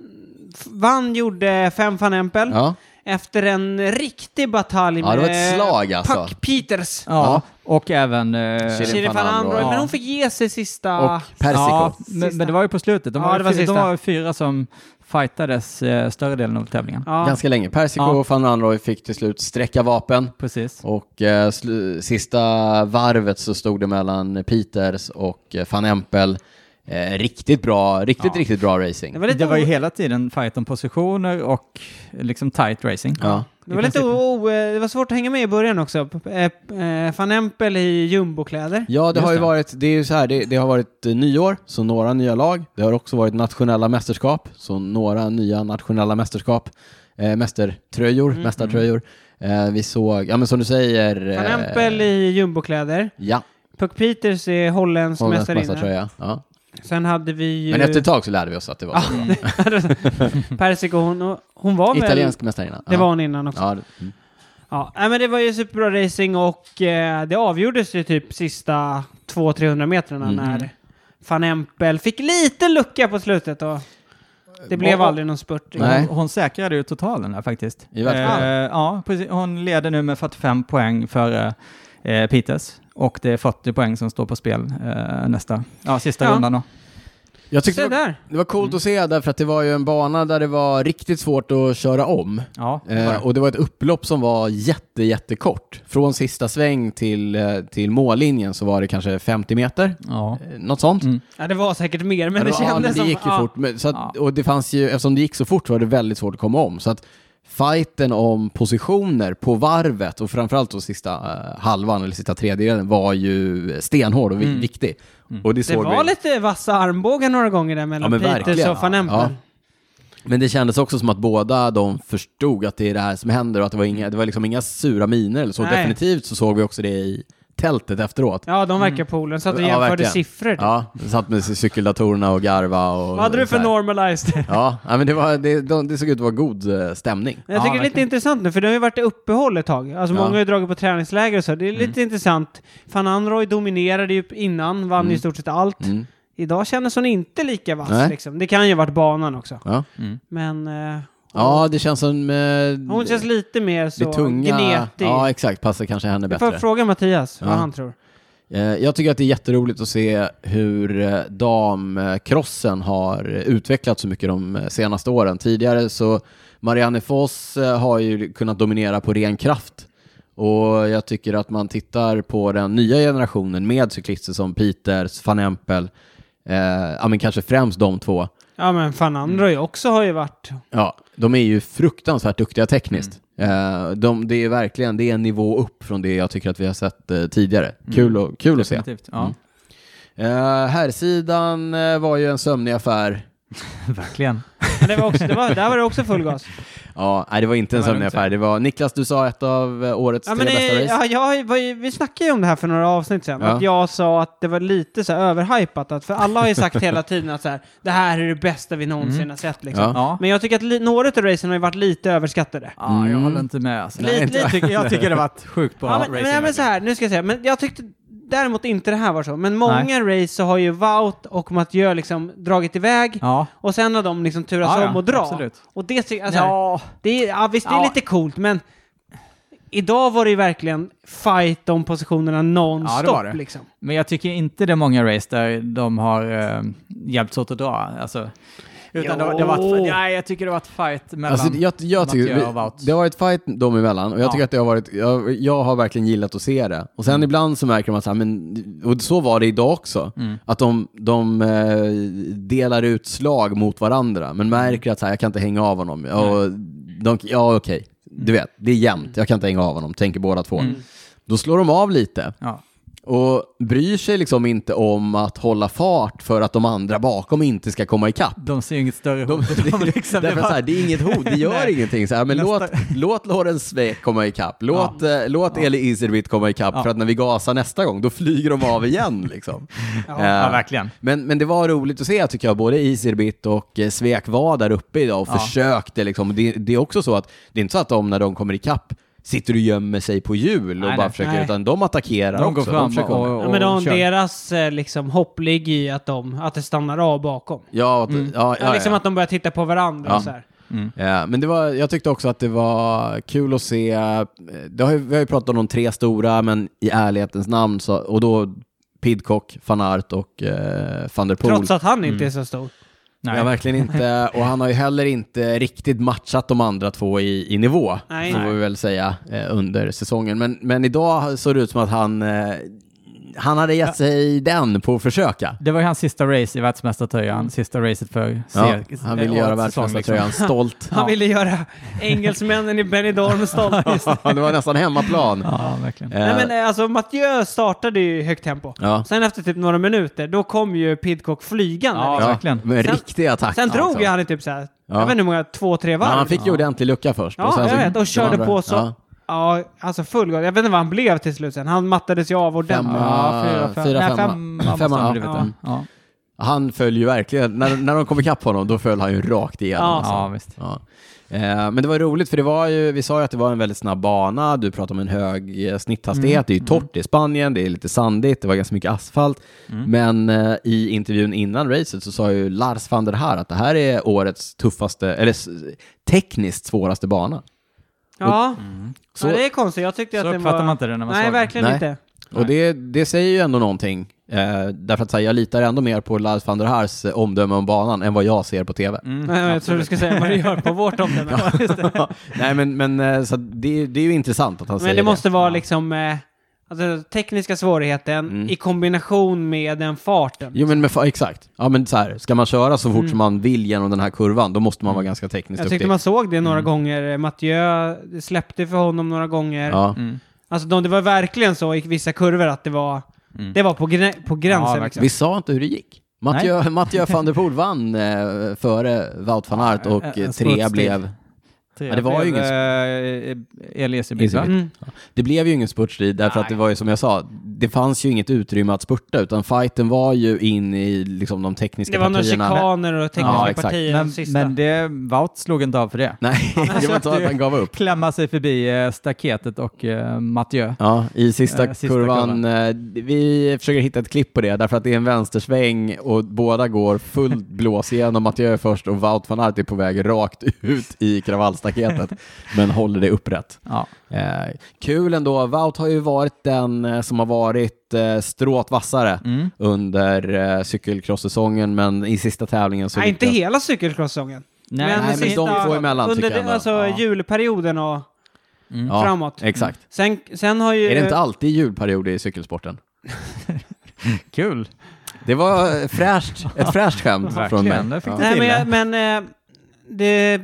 B: f- vann gjorde Fem van Empel
A: Ja.
B: efter en riktig batalj
A: Ja, det var ett
B: med
A: slag, alltså.
B: Puck Peters.
C: Ja,
A: Ja.
C: och även... eh,
A: Shirin
B: Shirin van
A: Android.
B: Android, men
C: Ja.
B: hon fick ge sig sista...
A: Och Persico.
C: Ja,
B: Sista.
C: men, men det var ju på slutet. De
B: Ja,
C: var
B: det var
C: fy-
B: sista.
C: de var ju fyra som fightades eh, större delen av tävlingen.
B: Ja.
A: Ganska länge. Persico
C: Ja.
A: och van Ranroy fick till slut sträcka vapen.
C: Precis.
A: Och eh, slu- sista varvet så stod det mellan Peters och eh, van Empel. Eh, riktigt bra, riktigt, riktigt bra racing.
B: Det
A: Ja.
B: var lite,
C: Det var ju
B: o-
C: hela tiden fight om positioner och liksom tight racing.
B: det var lite o, eh, det var svårt att hänga med i början också. P- eh, eh, Van Empel i jumbokläder.
A: Ja, det
C: Just
A: har ju
C: det.
A: varit, det är ju så här, det, det har varit eh, nyår, så några nya lag. Det har också varit nationella mästerskap, så några nya nationella mästerskap. Eh, mästertröjor,
B: Mm,
A: mästartröjor. Eh, vi såg, ja men som du säger...
B: Van
A: eh,
B: Empel i jumbokläder.
A: Ja,
B: Puck Peters är holländsk
A: holländsk
B: mästarinna.
A: mästartröja. Ja.
B: Sen hade vi ju...
A: Men efter ett tag så lärde vi oss att det var så.
B: Persico, hon, hon var väl...
A: Italiensk mästarinna.
B: Det var hon innan också. Ja.
A: Ja, det- mm.
B: nej, men det var ju superbra racing och eh, det avgjordes ju typ sista 200-300 metrarna
A: Mm.
B: när Van Empel fick lite lucka på slutet och det blev
C: Och-
B: aldrig någon spurt.
A: Mm. Nej.
C: Hon, hon säkrade ju totalen där faktiskt. Eh,
A: I världscupen?
C: ja, precis. Hon leder nu med 45 poäng före eh, Peters. Och det är 40 poäng som står på spel eh, nästa, ja sista
B: Ja.
C: rundan då.
A: Jag tyckte
B: Se
A: det var,
B: där.
A: det var
C: Mm.
A: coolt att se därför att det var ju en bana där det var riktigt svårt att köra om.
C: Ja, det var det.
A: Eh, och det var ett upplopp som var jätte, jättekort. Från sista sväng till, eh, till mållinjen så var det kanske 50 meter,
C: ja.
A: eh, något sånt.
C: Mm.
B: Ja, det var säkert mer, men
A: Ja,
B: det
A: var- ja,
B: kändes
A: men
B: som...
A: det gick ju
B: ja.
A: fort. Men, så att,
C: Ja.
A: Och det fanns ju, eftersom det gick så fort så var det väldigt svårt att komma om. Så att fighten om positioner på varvet och framförallt då sista eh, halvan eller sista tredjedelen var ju stenhård och vi-
C: Mm.
A: viktig.
C: Mm.
A: Och det
B: Det
A: såg vi.
B: var lite vassa armbågar några gånger där mellan
A: Ja, men
B: Peters
A: verkligen.
B: och van Empel.
A: Ja. Men det kändes också som att båda de förstod att det är det här som händer och att det var inga, det var liksom inga sura miner eller så.
B: Nej.
A: Definitivt så såg vi också det i tältet efteråt.
B: Ja, de verkar polare. Så att du
A: Mm. Ja,
B: jämförde
A: verkligen.
B: siffror. typ.
A: Ja, satt med cykeldatorerna och garva och...
B: Vad hade du
A: så
B: för
A: här.
B: normalized?
A: Ja, ja, men det, var, det, de, det såg ut att vara god eh, stämning.
B: Jag tycker det är lite
C: verkligen.
B: intressant nu, för det har ju varit i uppehåll ett tag. Alltså
A: Ja. Mm.
B: många har ju dragit på träningsläger och så. Det är lite intressant. Van Anroy dominerade ju innan, vann ju i stort sett allt.
A: Mm.
B: Idag kändes hon inte lika vass
A: Nej.
B: liksom. Det kan ju ha varit banan också.
A: Ja.
B: Men eh,
A: ja, det känns som... Eh,
B: hon känns lite mer
A: det
B: så
A: tunga...
B: gnetig.
A: Ja, exakt. Passar kanske henne
B: jag får
A: bättre.
B: fråga Mattias
A: Ja.
B: vad han tror.
A: Eh, Jag tycker att det är jätteroligt att se hur eh, damkrossen har eh, utvecklats så mycket de eh, senaste åren. Tidigare så Marianne Foss eh, har ju kunnat dominera på ren kraft. Och jag tycker att man tittar på den nya generationen med cyklister som Peters, van Empel, eh, ja men kanske främst de två.
B: Ja, men Van
A: Mm.
B: Anroy också har ju varit...
A: Ja, de är ju fruktansvärt duktiga tekniskt. Eh, de, det är verkligen, det är en nivå upp från det jag tycker att vi har sett eh, tidigare. Kul, och, kul att se. Mm.
C: Definitivt. Ja.
A: Eh, Herrsidan eh, var ju en sömnig affär.
C: Verkligen.
B: Men det var också, det var, där var det också full gas.
A: Ja, nej, det var inte en
C: Det var
A: sömnig
C: lugnt.
A: affär. Det var, Niklas, du sa ett av eh, årets
B: Ja,
A: tre
B: men,
A: bästa
B: eh,
A: race.
B: ja, jag, var ju- vi snackade ju om det här för några avsnitt sedan,
A: Ja.
B: att jag sa att det var lite så här överhypat, att, för alla har ju sagt hela tiden att så här, det här är det bästa vi någonsin har sett. Liksom.
A: Ja.
C: Mm. Ja.
B: Men jag tycker att li- några av racen har ju varit lite överskattade.
C: Ja, jag
A: Mm.
C: håller inte med. Alltså.
B: Lite, lite.
C: jag, tycker, jag tycker det har varit sjukt bra
B: Ja, men, men,
C: racing.
B: nej, men så här, nu ska jag säga, men jag tyckte däremot inte det här var så. Men många race så har ju Wout och Mathieu liksom dragit iväg
C: Ja.
B: och sen har de liksom turats
C: Ja, ja,
B: om och dra.
C: absolut.
B: Och det alltså- tycker jag, så här,
C: Ja.
B: det är, ja visst det är
C: Ja.
B: lite coolt men idag var det ju verkligen fight om positionerna
C: Ja,
B: non-stop
C: det var det.
B: liksom.
C: Men jag tycker inte det är många race där de har eh, hjälpts åt att dra. Alltså, utan det, det har
B: Jo.
C: varit, nej, jag tycker det har varit fight mellan
A: Alltså, jag, jag tycker,
C: Mathieu och Wout.
A: det har varit fight dem emellan och jag
C: Ja. Mm.
A: tycker att det har varit, jag, jag har verkligen gillat att se det. Och sen ibland så märker man så här, men, och så var det idag också,
C: Mm.
A: att de, de eh, delar ut slag mot varandra,
C: Mm.
A: men märker att så här, jag kan inte hänga av honom. Och de, ja, okej,
C: Mm.
A: du vet, det är jämnt, jag kan inte hänga av honom, tänker båda två. Då slår de av lite
C: Ja.
A: och bryr sig liksom inte om att hålla fart för att de andra bakom inte ska komma ikapp.
C: De ser ju inget större
A: De,
C: hot.
A: det,
C: De liksom,
A: därför
C: det var-
A: så här, det är inget hot, det gör
C: Nej.
A: ingenting. Så här, men
C: Nästa-
A: låt, låt Lorenz Sveik komma ikapp, låt, eh, låt Eli Iservit komma ikapp,
C: Ja.
A: för att när vi gasar nästa gång, då flyger de av igen. Liksom.
B: Ja.
A: Eh,
C: Ja, verkligen.
A: men, men det var roligt att se, tycker jag, både Iserbit och eh, Svek var där uppe idag och
C: Ja.
A: försökte. Liksom. Det, det är också så att det är inte så att de, när de kommer ikapp, sitter och gömmer sig på hjul och bara
C: Nej, nej.
A: försöker,
B: Nej.
A: utan de attackerar
C: De går
A: också.
C: fram
A: försöker komma.
C: och, och,
B: Ja, men de,
C: kör.
B: deras eh, liksom, hopp ligger i att, de, att det stannar av bakom.
A: Ja, t-
C: Mm.
A: ja, ja,
B: Ja, liksom
A: ja.
B: att de börjar titta på varandra
A: Ja.
B: och så här.
A: Ja, men det var, jag tyckte också att det var kul att se, eh, det har ju, vi har ju pratat om de tre stora, men i ärlighetens namn, så, och då Pidcock, van Aert och eh, van der Poel.
B: Trots att han inte är så stor.
C: Nej.
A: Ja, verkligen inte. Och han har ju heller inte riktigt matchat de andra två i, i nivå,
B: Nej.
A: får vi väl säga, eh, under säsongen. Men, men idag såg det ut som att han, eh, han hade gett sig den på att försöka.
C: Det var ju hans sista race i världsmästartröjan, sista racet för
A: Ja,
C: ser-
A: han ville
C: årets
A: göra
C: säsong, liksom.
A: världsmästartröjan
B: liksom.
A: stolt.
B: Han
C: Ja.
B: ville göra engelsmännen i Benidorm stolta.
A: Ja, det var nästan hemmaplan.
C: Liksom. Ja, verkligen.
A: Eh,
B: Nej men eh, alltså Mathieu startade ju i högt tempo.
A: ja.
B: Sen efter typ några minuter, då kom ju Pidcock flygande.
C: Ja,
B: liksom.
A: Ja,
C: verkligen.
A: Med
B: Sen-
A: riktig attack.
B: Sen drog
A: liksom.
B: ju han i typ så här,
A: Ja.
B: jag vet inte hur många, två, tre
A: Ja,
B: varv.
A: han fick ju ordentlig lucka först.
B: Ja,
A: sen
B: jag
A: så-
B: vet. Och körde
A: andra-
B: på så.
A: Ja.
B: Ja. alltså full gas. Jag vet inte vad han blev till slut sen. Han mattades ju av ordentligt.
A: Femma.
C: Ja, fyra, fem.
A: fyra,
C: nej,
A: femma.
C: femma måste
A: Femma,
C: han
A: ja.
C: ha blivit,
B: Ja.
C: ja. Ja.
A: Han föll ju verkligen, när, när de kom ikapp honom, då föll han ju rakt igenom.
B: Ja.
A: alltså.
C: ja, visst.
A: Ja. Eh, men det var roligt, för det var ju, vi sa ju att det var en väldigt snabb bana, du pratade om en hög eh, snitthastighet,
B: Mm.
A: det är ju torrt i Spanien, det är lite sandigt, det var ganska mycket asfalt.
B: Mm.
A: Men eh, i intervjun innan racet så sa ju Lars van der Haar att det här är årets tuffaste, eller s- tekniskt svåraste bana.
B: Ja.
A: Så-
B: ja, det är konstigt. Jag tyckte
C: Så
B: att det
C: pratar
B: var...
C: man inte det när man
B: Nej,
C: såg det.
B: verkligen
A: Nej.
B: inte.
A: Och det, det säger ju ändå någonting. Eh, därför att så här, jag litar ändå mer på Lars van der Haars eh, omdöme om banan än vad jag ser på tv.
C: Mm.
B: Nej, men jag tror du ska säga vad du gör på vårt omdöme.
A: Nej men, men eh, så att det, det är ju intressant att han
B: Men
A: säger
B: det måste vara liksom... Eh, alltså, tekniska svårigheten i kombination med den farten.
A: Mm. Jo men, men fa- exakt. Ja men så här, ska man köra så fort som man vill genom den här kurvan, då måste man vara ganska tekniskt
B: Jag tyckte man såg det några
A: Mm.
B: gånger. Mathieu släppte för honom några gånger.
A: Ja.
C: Mm.
B: Alltså de, det var verkligen så i vissa kurvor att det var, det var på, grä, på gränsen.
C: Mm. Ja,
B: liksom.
A: Vi sa inte hur det gick. Mathieu, Mathieu van der Poel vann eh, före Wout van Aert och
C: en-
A: eh, trea
C: en smutsstil.
A: blev...
C: Tre, eh,
A: Men det var ju
C: Elias
A: Iseby.
C: Ibiza.
B: Mm.
A: Det blev ju ingen spurtstrid därför att det var ju som jag sa, det fanns ju inget utrymme att spurta utan fighten var ju in i liksom de tekniska
B: Det var några
A: partierna.
B: chikaner och
A: Ja,
B: tekniska
A: exakt.
B: partier
C: Men,
B: sista.
C: men det, Wout slog inte av för det.
A: Nej, det var inte så att han gav upp.
C: Klämma sig förbi eh, staketet och eh, Mathieu.
A: Ja, i sista,
C: Eh, sista
A: kurvan.
C: kurvan.
A: eh, Vi försöker hitta ett klipp på det därför att det är en vänstersväng och båda går fullt blås igenom. Mathieu är först och Wout van Aert är på väg rakt ut i kravallstaketet men håller det upprätt.
C: Ja.
A: Eh, kul ändå. Wout har ju varit den eh, som har varit eh, stråt vassare
C: Mm.
A: under eh, cykelcross-säsongen, men i sista tävlingen så...
B: Nej, inte
A: lyckas-
B: hela cykelcrosssäsongen.
C: Nej,
A: nej, men de två emellan
B: under
A: tycker jag
B: det,
A: ändå.
B: Alltså
C: Ja.
B: julperioden och
C: Mm.
B: framåt.
A: Exakt.
B: Sen, sen har ju...
A: Är det inte alltid julperiod i cykelsporten?
C: Kul.
A: Det var eh, fräscht, ett fräscht skämt från mig.
C: Verkligen, där fick
A: Ja.
C: du
B: Nej, men,
C: till
B: jag,
C: det.
B: men eh,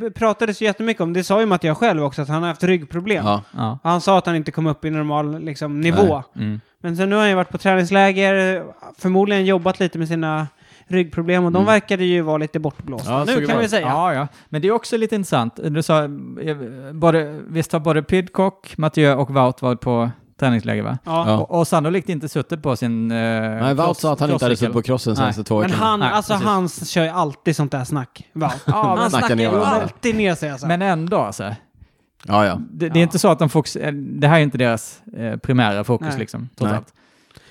B: det pratades ju jättemycket om, det sa ju Mattias själv också, att han har haft ryggproblem.
A: Ja.
C: Ja.
B: Han sa att han inte kom upp i normal liksom, nivå.
A: Nej.
C: Mm.
B: Men sen nu har han ju varit på träningsläger, förmodligen jobbat lite med sina ryggproblem och de verkade ju vara lite bortblåsta.
A: Mm. Ja, såg
B: nu
A: det
B: kan
A: bra
B: vi
A: ut.
B: säga.
C: Ja, ja. Men det är också lite intressant. Du sa, eh, både, visst har både Pidcock, Mathieu och Wout varit på träningsläger va?
B: Ja.
A: Ja.
C: Och, och sannolikt inte suttit på sin... Eh,
A: Nej, Wout sa att han inte hade suttit på crossen
C: Nej.
A: senaste två
B: Men
A: veckorna.
B: han,
C: Nej,
B: alltså
C: precis.
B: han kör ju alltid sånt där snack. Wow.
C: Ja,
B: han
C: men,
A: snackar
B: snackar
A: ner
B: ju
A: varandra.
B: alltid ner sig alltså.
C: men ändå alltså.
A: Ja, ja.
C: Det,
B: Ja.
C: det är inte så att de fokuserar... Det här är inte deras eh, primära fokus
B: Nej.
C: liksom, trots
A: Nej.
C: allt.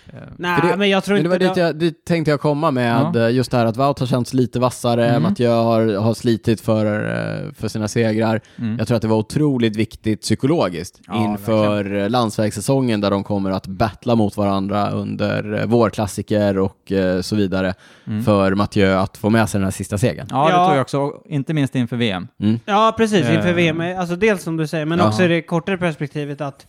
C: Eh,
B: Nej,
A: För det-
B: men jag tror
A: Men det
B: inte...
A: var dit jag dit tänkte jag komma med eh, just det här att Wout har känts lite vassare,
C: Mm.
A: Mathieu har, har slitit för, eh, för sina segrar.
C: Mm.
A: Jag tror att det var otroligt viktigt psykologiskt
C: Ja,
A: inför eh, landsvägssäsongen där de kommer att battla mot varandra under eh, vårklassiker och eh, så vidare
C: Mm.
A: för Mathieu att få med sig den här sista segern.
C: Ja,
B: Ja.
C: det tror jag också. och Inte minst inför VM.
A: Mm.
B: Ja, precis. Inför
C: Eh.
B: VM. Alltså dels som du säger, men
A: Ja.
B: också i det kortare perspektivet att...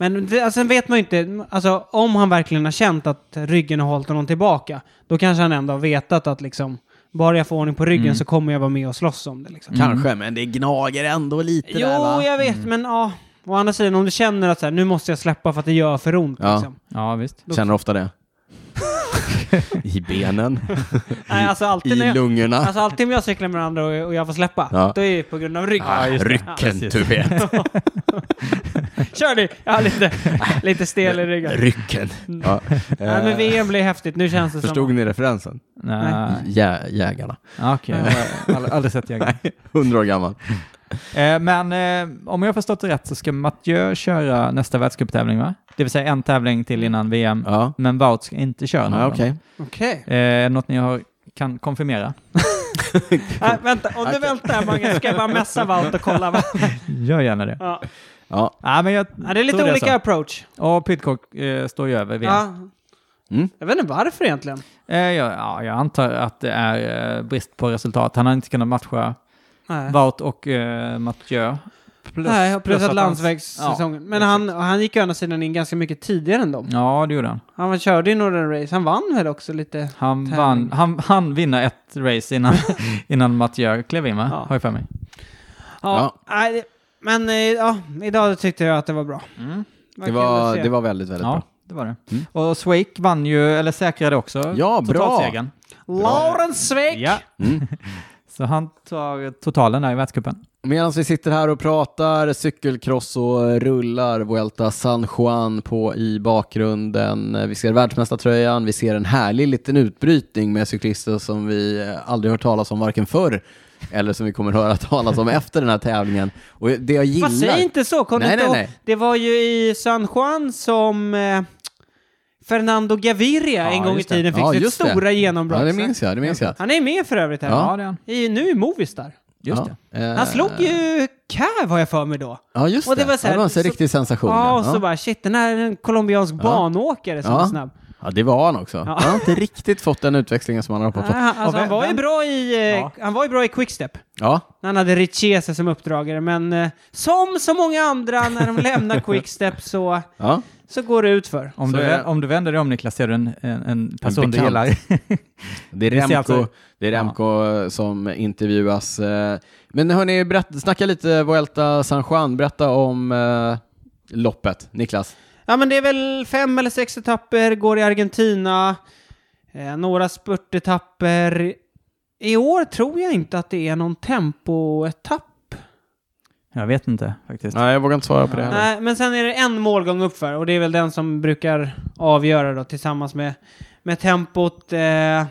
B: Men det- alltså, sen vet man ju inte, alltså om han verkligen har känt att ryggen har hållit honom tillbaka, då kanske han ändå har vetat att liksom, bara jag får ordning på ryggen
C: Mm.
B: så kommer jag vara med och slåss om det liksom.
A: Kanske, men det gnager ändå lite
B: Jo,
A: där va?
B: jag vet, men ja. Å andra sidan, om du känner att så här, nu måste jag släppa för att det gör för ont.
A: Ja.
B: Liksom.
C: Ja, visst.
A: Känner ofta det. I benen,
B: Nej, alltså
A: i
B: alltid när jag,
A: lungorna.
B: alltså, alltid om jag cyklar med andra och, och jag får släppa,
A: Ja.
B: då är det på grund av ryggen.
A: Ah, rycken, du vet.
B: Kör du! Jag har lite, lite stel i ryggen.
A: rycken. Ja.
B: Mm. Nej, men VM blir häftigt. Nu känns det
A: Eh. Förstod
B: som...
A: ni referensen?
C: Nej.
A: Jä- jägarna.
C: Ja, Okej, jag har ald- Eh, aldrig sett jägare.
A: Hundra år gammal.
C: Eh, men eh, om jag har förstått det rätt så ska Mathieu köra nästa världscuptävling va? Det vill säga en tävling till innan VM,
A: Ja.
C: men Wout ska inte köra någon.
A: Ja, okej.
B: Okej.
C: Eh, är det något ni har, kan konfirmera?
B: Nej, vänta. Om du väntar här, Mange, ska jag bara messa Wout och kolla. vad-
C: Gör gärna det.
B: Ja.
A: Ja.
C: Ja, men jag
B: Ja, det är lite
C: tror
B: olika approach.
C: så. Och Pidcock eh, står ju över VM.
B: Ja.
A: Mm.
B: Jag vet inte varför egentligen.
C: Eh, jag, ja, jag antar att det är eh, brist på resultat. Han har inte kunnat matcha
B: Nej.
C: Wout och eh, Mathieu. Plus,
B: Nej, och plus att
C: han-
B: landsvägssäsongen.
C: Ja,
B: men han, han gick ju å andra sidan in ganska mycket tidigare än dem.
C: Ja, det gjorde han.
B: Han var- körde ju några race. Han vann väl också lite?
C: Han
B: Tävling.
C: vann, han, han vinner ett race innan, innan Mathieu klev in va?
B: Ja.
C: Har jag för mig.
A: Ja.
B: Nej, det- men eh, ja, idag tyckte jag att det var bra.
A: Mm. Det, var, det
B: var...
A: var väldigt, väldigt
C: Ja,
A: bra.
C: det var det.
A: Mm.
C: Och Swake vann ju, eller säkrade också
A: Ja, bra.
C: totalsegern.
B: Lawrence Sveck!
C: Ja.
A: Mm.
C: Så han tar totalen där i världscupen.
A: Medan vi sitter här och pratar cykelkross och rullar Vuelta San Juan på i bakgrunden. Vi ser världsmästartröjan, vi ser en härlig liten utbrytning med cyklister som vi eh, aldrig hört talas om varken förr eller som vi kommer höra talas om efter den här tävlingen. Och det jag gillar...
B: Fast säg inte så. Kom
A: Nej,
B: inte
A: nej,
B: ihåg.
A: nej.
B: Det var ju i San Juan som eh, Fernando Gaviria en gång i
C: just det.
B: tiden fick
A: Ja,
B: sitt
A: just det.
B: stora genombrott.
A: Ja, det minns jag. Det minns jag.
B: Han är med för övrigt här.
A: Ja.
C: det är han.
B: I, nu i Movistar.
C: Just
A: ja.
C: det.
A: det.
B: Han slog ju Cav har jag för mig då.
A: Ja, just
B: Och det
A: det.
B: var så här-
A: ja, det var en så
B: så-
A: riktig sensation.
B: Ja, och så
A: ja.
B: bara shit, den här är en colombiansk banåkare som
A: Ja.
B: var snabb.
A: ja, det var han också.
B: Ja.
A: Han har inte riktigt fått den utväxlingen som han har hoppats
B: Ah,
A: på.
B: alltså,
C: Och vem-
B: han, var ju
C: vem-
B: bra i, eh,
C: Ja.
B: han var ju bra i quickstep.
A: Ja,
B: Han hade Richese som uppdragare, men eh, som så många andra när de lämnar quickstep så,
A: ja.
B: så går det ut för.
C: Om,
A: Så
C: du,
A: är det.
C: vä- om du vänder dig om Niklas ser du en, en, en person du
A: bekant.
C: gillar.
A: Det är
C: Vi ser
A: Remco,
C: alltså-
A: det är Remco eh, som intervjuas. eh. Men hörni, berätt, snacka lite Vuelta San Juan. Berätta om eh, loppet, Niklas.
B: Ja, men det är väl fem eller sex etapper, går i Argentina, eh, några spurtetapper. I år tror jag inte att det är någon tempoetapp.
C: jag vet inte faktiskt.
A: Nej, jag vågar inte svara på det
B: Nej, men sen är det en målgång uppför och det är väl den som brukar avgöra då tillsammans med, med tempot. Eh,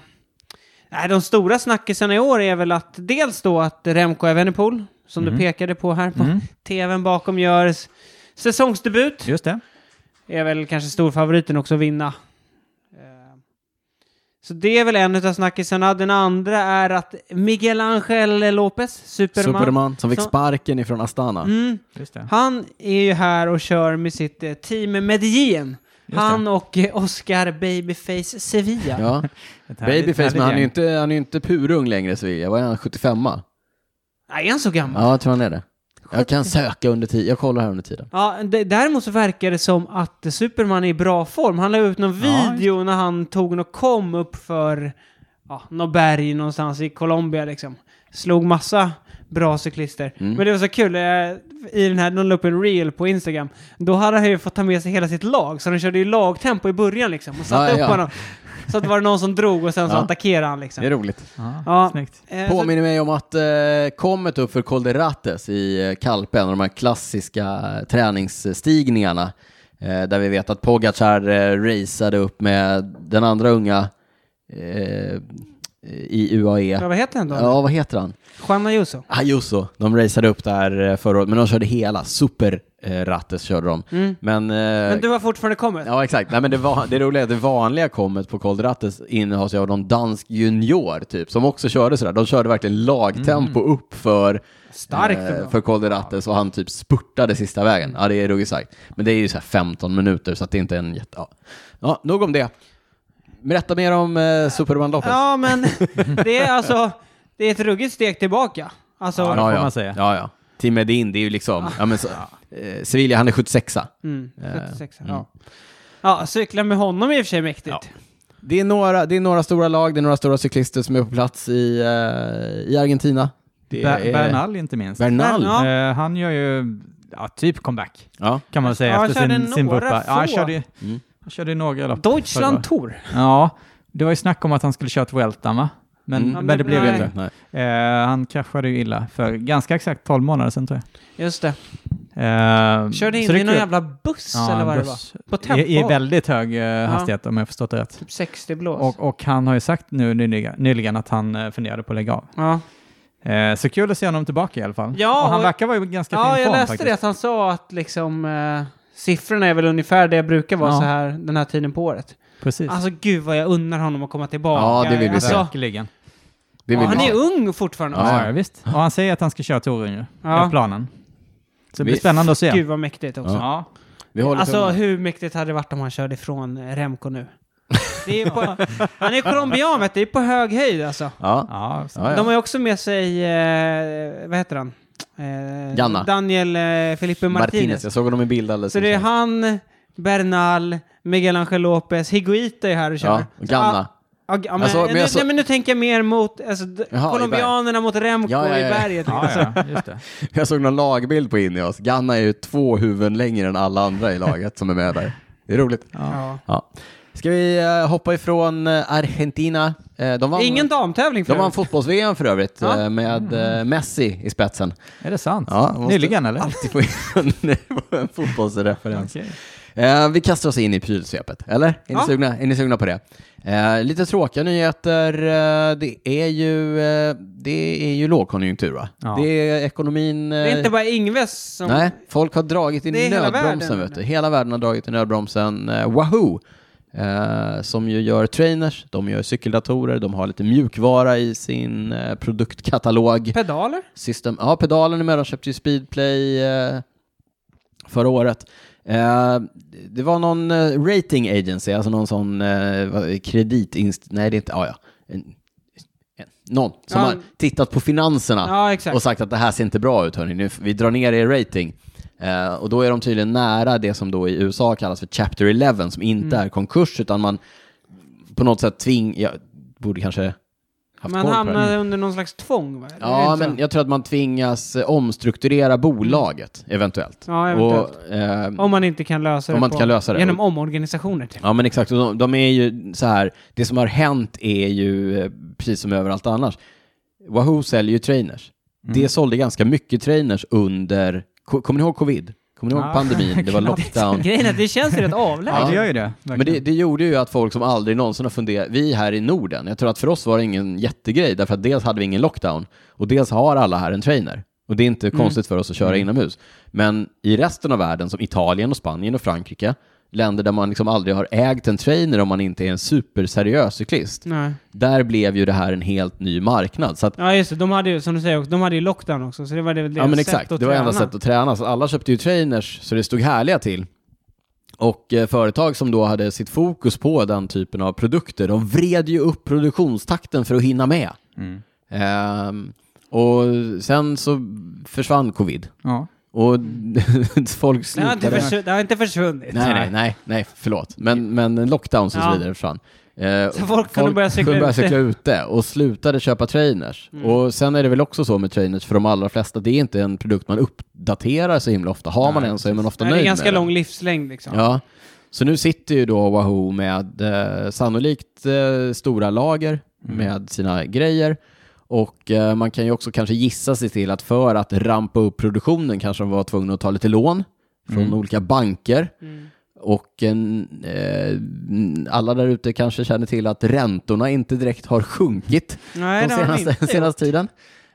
B: nej, de stora snackisarna i år är väl att dels då att Remco Evenepoel, som du pekade på här på
C: Mm.
B: tvn bakom, gör s- säsongsdebut.
C: Just det.
B: är väl kanske storfavoriten också att vinna. Eh, Så det är väl en utav snackisarna. Den andra är att Miguel Angel Lopez, Superman,
A: Superman som fick
B: Så-
A: sparken ifrån Astana.
B: Mm,
C: Just det.
B: han är ju här och kör med sitt eh, team Medellin.
C: det.
B: Han och eh, Oscar Babyface Sevilla.
A: Ja.
C: Ett härligt-
A: Babyface, men han är
C: härligt
A: ju
C: gäng.
A: inte, han är ju inte purung längre, Sevilla. Vad är han, 75 Ja,
B: Nej, är han så gammal?
A: jag tror han är det. Jag kan söka under tiden. Jag kollar här under tiden.
B: Ja, d- däremot så verkar det som att eh, Superman är i bra form. Han la ut någon
C: Ja,
B: video när han tog något kom upp för ja, något berg någonstans i Colombia liksom. slog massa bra cyklister.
A: Mm.
B: Men det var så kul, eh, i den här, de la upp en reel på Instagram, då hade han ju fått ta med sig hela sitt lag, så de körde ju lagtempo i början liksom och satte
A: Ja,
B: upp
A: ja.
B: honom. Så att det var någon som drog och sen så
A: Ja.
B: attackerade han liksom.
A: Det är roligt.
B: Ja.
C: Snyggt.
B: Eh, så-
A: Påminner mig om att eh, kommet upp för Kolderates i eh, Kalpen och de här klassiska eh, träningsstigningarna eh, där vi vet att Pogacar eh, raceade upp med den andra unga eh, i
B: Ja,
A: UAE.
B: vad heter han då?
A: Ja, vad heter han?
B: Juan Ayuso.
A: Ah, just så. De raceade upp där eh, förra året, men de körde hela. Super eh, Rattes körde de. Men, eh,
B: Mm. Men du har fortfarande kommit?
A: Ja, exakt. Nej, men det, var, det roliga är att det vanliga kommet på Koldrates innehas ju av någon dansk junior typ, som också körde sådär. De körde verkligen lagtempo
C: Mm.
A: upp för,
B: Starkt och bra.
A: eh, för Koldrates och han typ spurtade sista vägen.
C: Mm.
A: Ja, det är ruggigt starkt. Men det är ju såhär 15 minuter så att det inte är en jätte... Ja, ja nog om det. Berätta mer om eh, Superman-loppet.
B: Ja, men det är alltså, det är ett ruggigt steg tillbaka. Alltså,
C: Ja, det får man säga.
A: Ja,
C: Ah.
A: ja. Tim Edin, det är ju liksom... Ja, men, så, eh, Sevilla, han är 76
B: mm,
C: Eh,
B: 76, ja. Ja, cykla med honom är i och för sig mäktigt.
A: Ja. Det är, några, det är några stora lag, det är några stora cyklister som är på plats i, eh, i Argentina. Det
C: Ber-
A: är-
C: Bernal inte minst.
A: Bernal.
B: Ja.
C: Eh, han gör ju ja, typ comeback,
A: Ja.
C: kan man säga,
B: Ja, han
C: efter
B: körde
C: sin, sin
B: några
C: vurpa. Ja, han
B: få.
C: körde, ju-
A: Mm.
C: han körde ju några lopp.
B: Deutschland Tour.
C: förra. Ja, det var ju snack om att han skulle köra ett Vueltan, va? Men,
A: Mm.
B: Ja,
C: men det
B: men
C: blev ju
B: nej.
C: inte. Eh, han kraschade ju illa för ganska exakt 12 månader sedan, tror jag.
B: Just det.
C: Eh,
B: Körde
C: så
B: in
C: det är
B: i någon
C: kul.
B: jävla buss
C: Ja,
B: eller
C: en
B: vad
C: buss.
B: det var. På tempo.
C: I, I väldigt hög eh, hastighet, om jag har förstått det rätt.
B: Typ 60 blås.
C: Och, och han har ju sagt nu nyligen, nyligen att han eh, funderade på att lägga av.
B: ja,
C: Eh, så kul att se honom tillbaka i alla fall.
B: Ja,
C: och han
B: och-
C: verkar vara i ganska
B: ja
C: fin
B: jag
C: form
B: läste
C: faktiskt.
B: det att han sa att liksom eh, siffrorna är väl ungefär det jag brukar vara
C: Ja.
B: så här den här tiden på året.
C: Precis.
B: Alltså gud vad jag unnar honom att komma tillbaka.
A: Ja, det vill vi
B: alltså,
A: se.
C: Verkligen.
A: Det
B: ja,
A: vill
B: han
A: vi
B: är
A: ha.
B: ung fortfarande.
C: Ja,
B: också.
C: ja, visst. Och han säger att han ska köra touren ju.
B: Ja.
C: Det är planen. Så det blir
A: Vi-
C: spännande att se.
B: Gud vad mäktigt också.
C: Ja.
A: Vi håller
B: Alltså
A: tummarna.
B: hur mäktigt hade det varit om han körde ifrån eh, Remco nu? Det är ju på, han är ju colombian vet du, det är på hög höjd alltså.
A: ja.
C: Ja, så-
A: Ja,
B: De
A: ja.
B: har ju också med sig, eh, vad heter han? Eh,
A: Janna.
B: Daniel eh, Felipe Martinez.
A: Martinez. Jag såg honom i bild alldeles
B: Så det är
A: nyss.
B: han, Bernal, Miguel Angel Lopez, Higuita är här och kör.
A: Ja, och Ganna.
B: Så, ah, ja, men,
A: Alltså, men
B: nu,
A: jag så-
B: nej, men nu tänker jag mer mot alltså, d-
A: Jaha, i
B: colombianerna mot Remco
A: Ja, ja, ja.
B: i berget. liksom.
C: ja, ja, Alltså, just det.
A: Jag såg någon lagbild på Ineos. Ganna är ju två huvuden längre än alla andra i laget som är med där. Det är roligt.
B: Ja.
A: Ja. Ska vi eh, hoppa ifrån eh, Argentina? Eh, de vann,
B: Ingen damtävling för
A: de vann
B: övrigt.
A: fotbolls-VM för övrigt
B: Ja.
A: eh, med eh, Messi i spetsen.
C: Är det sant?
A: Ja, måste
C: Nyligen eller?
A: Alltid få in en, en fotbollsreferens.
C: Okej.
A: Eh, vi kastar oss in i prylsvepet, eller? Är ni,
B: Ja.
A: sugna? Är ni sugna på det? Eh, lite tråkiga nyheter. Eh, det, är ju, eh, det är ju lågkonjunktur, va?
C: Ja.
A: Det är ekonomin... eh,
B: Det är inte bara Ingves som...
A: Nej, folk har dragit i
B: Det är hela
A: nödbromsen,
B: världen.
A: vet du. Hela världen har dragit i nödbromsen. Eh, Wahoo! Eh, som ju gör trainers, de gör cykeldatorer, de har lite mjukvara i sin eh, produktkatalog.
B: Pedaler?
A: System. Ja, pedalen är med. De köpte ju Speedplay eh, förra året. Eh, det var någon eh, rating agency, alltså någon sån eh, vad- kreditinst... Nej, det är inte... Ah, ja. en, en, någon som
B: Ja.
A: har tittat på finanserna
B: Ja, exakt.
A: och sagt att det här ser inte bra ut, hörni. Nu, vi drar ner er rating. Eh, och då är de tydligen nära det som då i USA kallas för Chapter 11, som inte
B: Mm.
A: är konkurs, utan man på något sätt tving... Jag borde kanske haft koll
B: Man
A: på det.
B: hamnade under någon slags tvång, va? Eller är det
A: Ja,
B: inte så?
A: men jag tror att man tvingas eh, omstrukturera bolaget eventuellt.
B: Mm. Ja, eventuellt.
A: Och, eh,
B: Om man inte kan lösa det,
A: Om man inte
B: på-
A: kan lösa det.
B: genom omorganisationer. Typ.
A: Ja, men exakt. Och De, de är ju så här, det som har hänt är ju eh, precis som överallt annars. Wahoo säljer ju trainers.
B: Mm.
A: Det sålde ganska mycket trainers under, ko- kommer ni ihåg covid? Kommer ni ihåg
C: Ja,
A: pandemin? Det var lockdown.
B: Grejen är att det känns ju rätt avlägset.
C: Ja, det gör ju det.
A: Men det,
C: verkligen.
A: det gjorde ju att folk som aldrig någonsin har funderat, vi här i Norden, jag tror att för oss var det ingen jättegrej, därför att dels hade vi ingen lockdown och dels har alla här en trainer. Och det är inte konstigt för oss att köra inomhus. Men i resten av världen, som Italien och Spanien och Frankrike, länder där man liksom aldrig har ägt en trainer om man inte är en superseriös cyklist,
B: Nej.
A: där blev ju det här en helt ny marknad. Så att
B: Ja, just det. De hade ju, som du säger, också, de hade ju lockdown också, så det var det väl deras
A: Ja men
B: sätt
A: exakt,
B: att
A: det var
B: träna.
A: enda sättet att träna. Så alla köpte ju trainers så det stod härliga till. Och eh, företag som då hade sitt fokus på den typen av produkter, de vred ju upp produktionstakten för att hinna med.
C: Mm.
A: Ehm, och sen så försvann covid.
C: Ja.
A: Och folk
B: Det har,
A: slutade...
B: inte försvu- det har inte försvunnit.
A: Nej, nej, nej, nej, förlåt. Men, men lockdowns och så
B: Ja.
A: vidare försvann. Eh,
B: Så folk kunde börja cykla
A: kunde börja
B: ute. Mm.
A: cykla ute och slutade köpa trainers. Och sen är det väl också så med trainers för de allra flesta, det är inte en produkt man uppdaterar så himla ofta. Har man en så är man ofta
B: Nej,
A: nöjd
B: det är ganska
A: med den.
B: lång livslängd liksom.
A: Ja. Så nu sitter ju då Wahoo med eh, sannolikt eh, stora lager
B: Mm.
A: med sina grejer. Och eh, man kan ju också kanske gissa sig till att för att rampa upp produktionen kanske de var tvungna att ta lite lån från
B: Mm.
A: olika banker. Och en, eh, alla där ute kanske känner till att räntorna inte direkt har sjunkit
B: Nej,
A: de
B: det har han
A: senaste,
B: inte.
A: senaste tiden.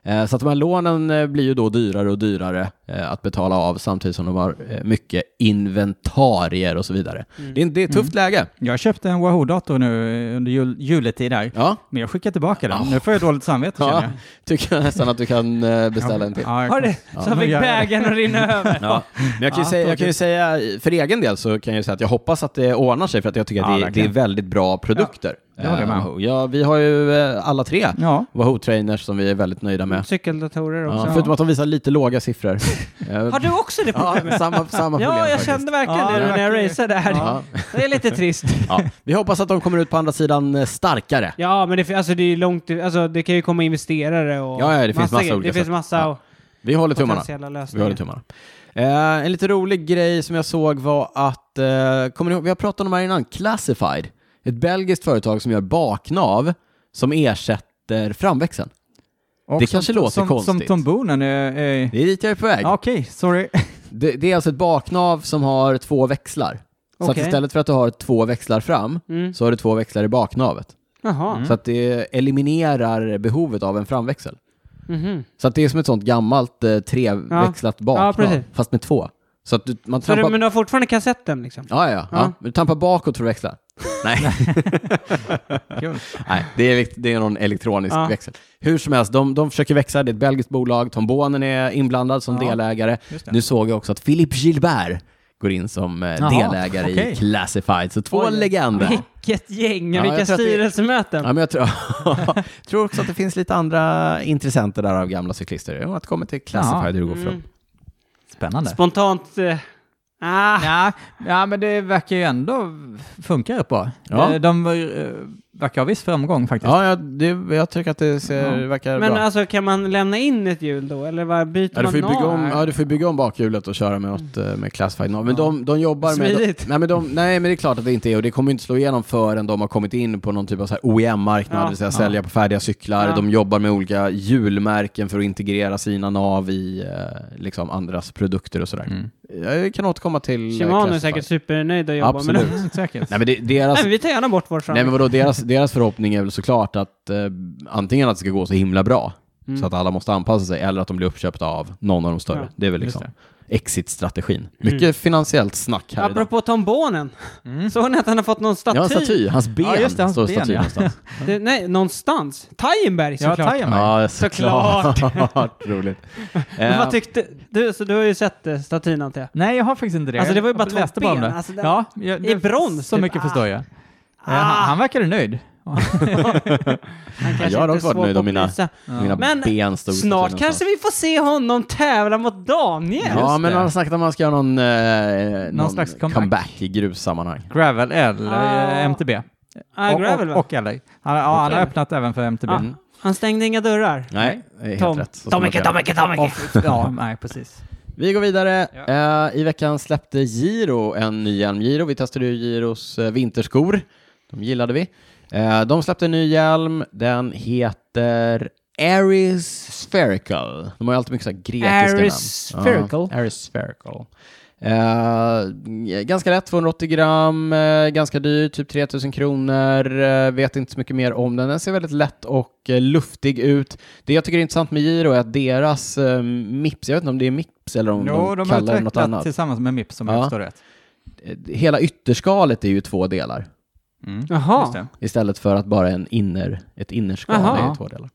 A: Eh, Så att de här lånen eh, blir ju då dyrare och dyrare eh, att betala av samtidigt som de har eh, mycket inventarier och så vidare.
C: Mm.
A: Det, är, det är ett tufft läge.
C: Jag köpte en Wahoo-dator nu eh, under jul, juletid där.
A: Ja.
C: Men jag skickar tillbaka den. Nu får jag dåligt samvete känner
A: ja,
C: jag.
A: tycker jag nästan att du kan eh, beställa en till.
C: Ja, jag
B: Har det,
C: kommer-
B: så han fick
C: Ja.
B: bägaren att rinna över.
A: Ja. Men jag kan, ju
C: Ja,
A: säga, jag
C: tråkigt.
A: kan ju säga, för egen del så kan jag ju säga att jag hoppas att det ordnar sig för att jag tycker
C: Ja,
A: att det, det är
C: verkligen.
A: väldigt bra produkter.
C: det håller jag med om.
A: Eh, ja, vi har ju eh, alla tre
C: Ja,
A: Wahoo-trainers som vi är väldigt nöjda med.
B: Cykeldatorer Mm. också.
A: Ja, förutom att de visar lite låga siffror. Eh,
B: Har du också det
A: ja,
B: problemet?
A: samma, samma problem
B: Ja, jag
A: faktiskt.
B: kände verkligen
C: Ja,
B: det
C: det
B: när jag
C: verkar-
B: raceade här.
A: Ja.
B: Det är lite trist.
A: Ja. Vi hoppas att de kommer ut på andra sidan eh, starkare.
B: Ja, men det, alltså, det är ju långt... Alltså, det kan ju komma investerare och...
A: Ja, ja, det finns massa
B: grejer.
A: olika
B: Det finns
A: sätt.
B: massa
A: Ja. Vi håller tummarna.
B: potentiella
A: Vi håller
B: lösningar.
A: tummarna. Eh, en lite rolig grej som jag såg var att, eh, kommer ni ihåg, vi har pratat om det här innan, Classified, ett belgiskt företag som gör baknav som ersätter framväxeln.
C: och
A: Det kanske låter
C: som,
A: konstigt.
C: Som tombonen är... är...
A: Det är dit jag är på väg.
C: eh, Ja, Okej, sorry.
A: Det, det är alltså ett baknav som har två växlar. Så att
B: Okej.
A: istället för att du har två växlar fram
B: Mm.
A: så har du två växlar i baknavet.
B: Jaha.
A: Så att det eliminerar behovet av en framväxel. Mm.
B: Mhm.
A: Så att det är som ett sånt gammalt eh, treväxlat baknav,
B: precis.
A: fast med två. Så att du, man
B: Så
A: trampar...
B: du, men du har fortfarande kassetten liksom?
A: Ja, ja, ja.
B: Ja.
A: Du tampar bakåt för att växla. Nej,
C: Kul.
A: nej det, är, vikt- det är någon elektronisk
B: Ja.
A: växel. Hur som helst, de, de försöker växa. Det är ett belgiskt bolag. Tombonen är inblandad som
C: Ja,
A: delägare.
C: just det.
A: Nu såg jag också att Philippe Gilbert går in som eh,
C: Jaha,
A: delägare i
C: okej.
A: Classified. Så två
C: Oj.
A: legender.
B: Vilket gäng!
A: Ja,
B: och vilka
A: jag tror att det-
B: styrelsemöten!
A: Ja, men jag tror, tror också att det finns lite andra intressenter där av gamla cyklister. Jag återkommer till Classified, hur det går
B: Mm.
A: för dem.
C: Spännande.
B: Spontant... Eh, ah,
C: Ja, ja, men det verkar ju ändå funka rätt bra.
A: Ja.
C: Eh, De eh, verkar ha viss framgång faktiskt.
A: Ja, jag, det, jag tycker att det ser,
C: Ja.
A: verkar
B: men
A: bra.
B: alltså kan man lämna in ett hjul då? Eller vad byter
A: Ja, du,
B: man
A: får ju bygga
B: nav?
A: om, ja, du får ju bygga om bakhjulet och köra med, något, eh, med classified nav. Men de, de jobbar med...
B: Smidigt.
A: De, nej, men de, nej, men det är klart att det inte är och det kommer ju inte slå igenom förrän de har kommit in på någon typ av så här OEM-marknad,
B: Ja.
A: det vill säga sälja på färdiga cyklar.
B: Ja.
A: De jobbar med olika hjulmärken för att integrera sina nav i eh, liksom andras produkter och sådär.
C: Mm.
A: Jag kan återkomma till eh,
B: Shimano är
A: classified.
B: säkert supernöjd att jobba
A: Absolut.
B: med.
C: Mm, säkert.
A: Nej, men det, deras,
B: Nej, men vi tar gärna bort vår fram.
A: Nej men vadå, deras, deras förhoppning är väl såklart att eh, antingen att det ska gå så himla bra så att alla måste anpassa sig eller att de blir uppköpta av någon av de större.
B: Mm. Ja, Mm.
A: det är väl liksom exit-strategin. Mycket finansiellt snack här idag.
B: Apropå tombonen. Såg ni att han har fått någon staty?
A: Ja, en staty. Hans ben
C: Ja, just det, hans
A: står
C: ben,
A: staty
C: ja.
A: någonstans.
B: Det, nej, någonstans. Tajenberg
C: Ja,
B: såklart.
C: Tajamaj.
A: Ja,
B: Såklart.
A: Roligt.
B: Men
A: Eh,
B: vad tyckte du? Så du har ju sett eh, statyn antar jag?
C: Nej, jag har faktiskt inte det.
B: Alltså, det var ju bara
C: Jag
B: två
C: läste bara om
B: ben.
C: det.
B: Alltså, det-
C: ja, jag,
B: i brons,
C: Så
B: typ.
C: mycket
B: Ah.
C: förstår jag. Eh, Han, han verkade nöjd.
B: Han kanske
A: jag hade
B: inte
A: också
B: är
A: varit
B: svår
A: nöjd
B: på
A: om
B: att
A: mina-
B: prisa.
A: Eh, Mina
B: Men
A: ben stod staty
B: Snart
A: någonstans.
B: kanske vi får se honom tävla mot Daniel.
A: Ja, men
C: Just det.
A: han har snackat om att man ska göra någon, eh, någon,
C: slags
A: comeback.
C: comeback.
A: i grussammanhang.
C: Gravel L,
B: Ah.
C: eh, MTB.
B: Ah,
C: och,
B: Gravel
C: och,
B: va?
C: och LA. Han, ja, han har öppnat även för MTB.
B: Ah, han stängde inga dörrar.
A: Nej, det är helt
B: Tom.
A: rätt. Så ska man
B: Tomike,
A: göra.
B: Tomike, Tomike!
C: Ja, nej, precis.
A: Vi går vidare. Eh, I veckan släppte Giro en ny hjälm. Giro, vi testade ju Giros eh, vinterskor. De gillade vi. Eh, de släppte en ny hjälm. Den heter Aris Spherical. De har ju alltid mycket så här grekiska namn.
B: Aris Spherical.
A: Ja, Aris Spherical. Eh, ganska lätt, 280 gram, eh, ganska dyr, typ 3000 kronor. Eh, vet inte så mycket mer om den. Den ser väldigt lätt och eh, luftig ut. Det jag tycker är intressant med Giro är att deras eh, Mips, jag vet inte om det är Mips eller om
C: Jo,
A: de,
C: de
A: kallar
C: har
A: det något
C: utvecklat
A: annat.
C: tillsammans med MIP som
A: Ja.
C: jag förstår rätt.
A: Eh, Hela ytterskalet är ju två delar
C: Mm. Just
B: Jaha.
C: det.
A: istället för att bara en inner, ett innerskal
B: Aha.
A: är ju två delar.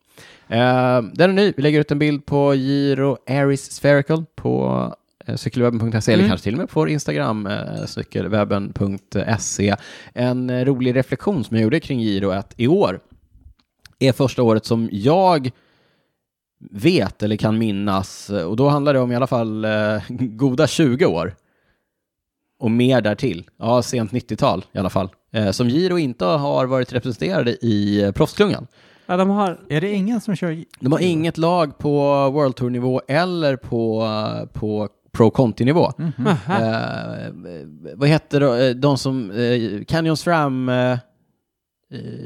A: Eh, den är ny. Vi lägger ut en bild på Giro Aris Spherical på eh, cykelwebben.se eller
B: Mm.
A: kanske till och med på vår Instagram, eh, cykelwebben.se. En eh, rolig reflektion som jag gjorde kring Giro är att i år är första året som jag vet eller kan minnas, eh, och då handlar det om i alla fall eh, goda 20 år och mer därtill. Ja, sent 90-tal i alla fall. eh, som Giro inte har varit representerade i eh, proffsklungan.
B: Ja, de har...
C: Är det ingen som kör?
A: De har inget lag på World Tour-nivå eller på, på Pro Conti-nivå.
C: Mhm.
B: Aha.
A: Eh, vad heter de, eh, de som, eh, Canyons Ram, eh, eh,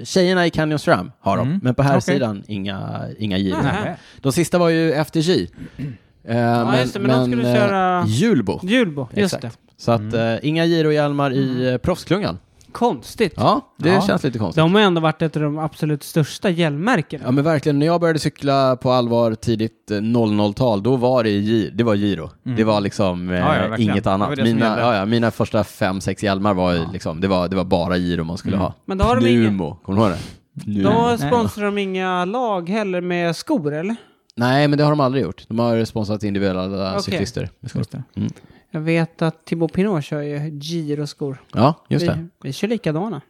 A: tjejerna i Canyons Ram har de,
C: Mm.
A: men på här
C: Okej.
A: sidan inga, inga Giro.
B: Nej.
C: Nej.
A: De sista var ju FDG. Eh,
B: ja, just det, men, de skulle
A: eh,
B: köra
A: Julbo.
B: Julbo. Just
A: Exakt.
B: det.
A: Så att
C: Mm.
A: eh, inga girohjälmar i
B: Mm.
A: eh, proffsklungan.
B: Konstigt.
A: Ja, det
C: Ja.
A: känns lite konstigt.
B: De har ändå varit ett av de absolut största hjälmmärkena.
A: Ja men verkligen, när jag började cykla på allvar tidigt eh, 00-tal, då var det, gi- det var giro.
C: Mm.
A: Det var liksom eh,
C: Ja, ja, verkligen.
A: inget
C: Det var
A: annat.
C: det som
A: Mina,
C: gällde.
A: ja, ja, mina första fem, sex hjälmar var ju
C: Ja. Mm.
A: liksom, det var, det var bara giro man skulle ha.
B: Men då har de ingen...
A: Pnumo, kommer du ihåg det? Pnumo.
B: Då
C: Nej.
B: sponsrar de inga lag heller med skor, eller?
A: Nej men det har de aldrig gjort. De har sponsrat individuella
B: Okej.
A: cyklister.
C: Just det.
B: Jag vet att Thibaut Pinot kör ju Giro-skor.
A: Ja, just det.
B: Vi, vi kör likadana.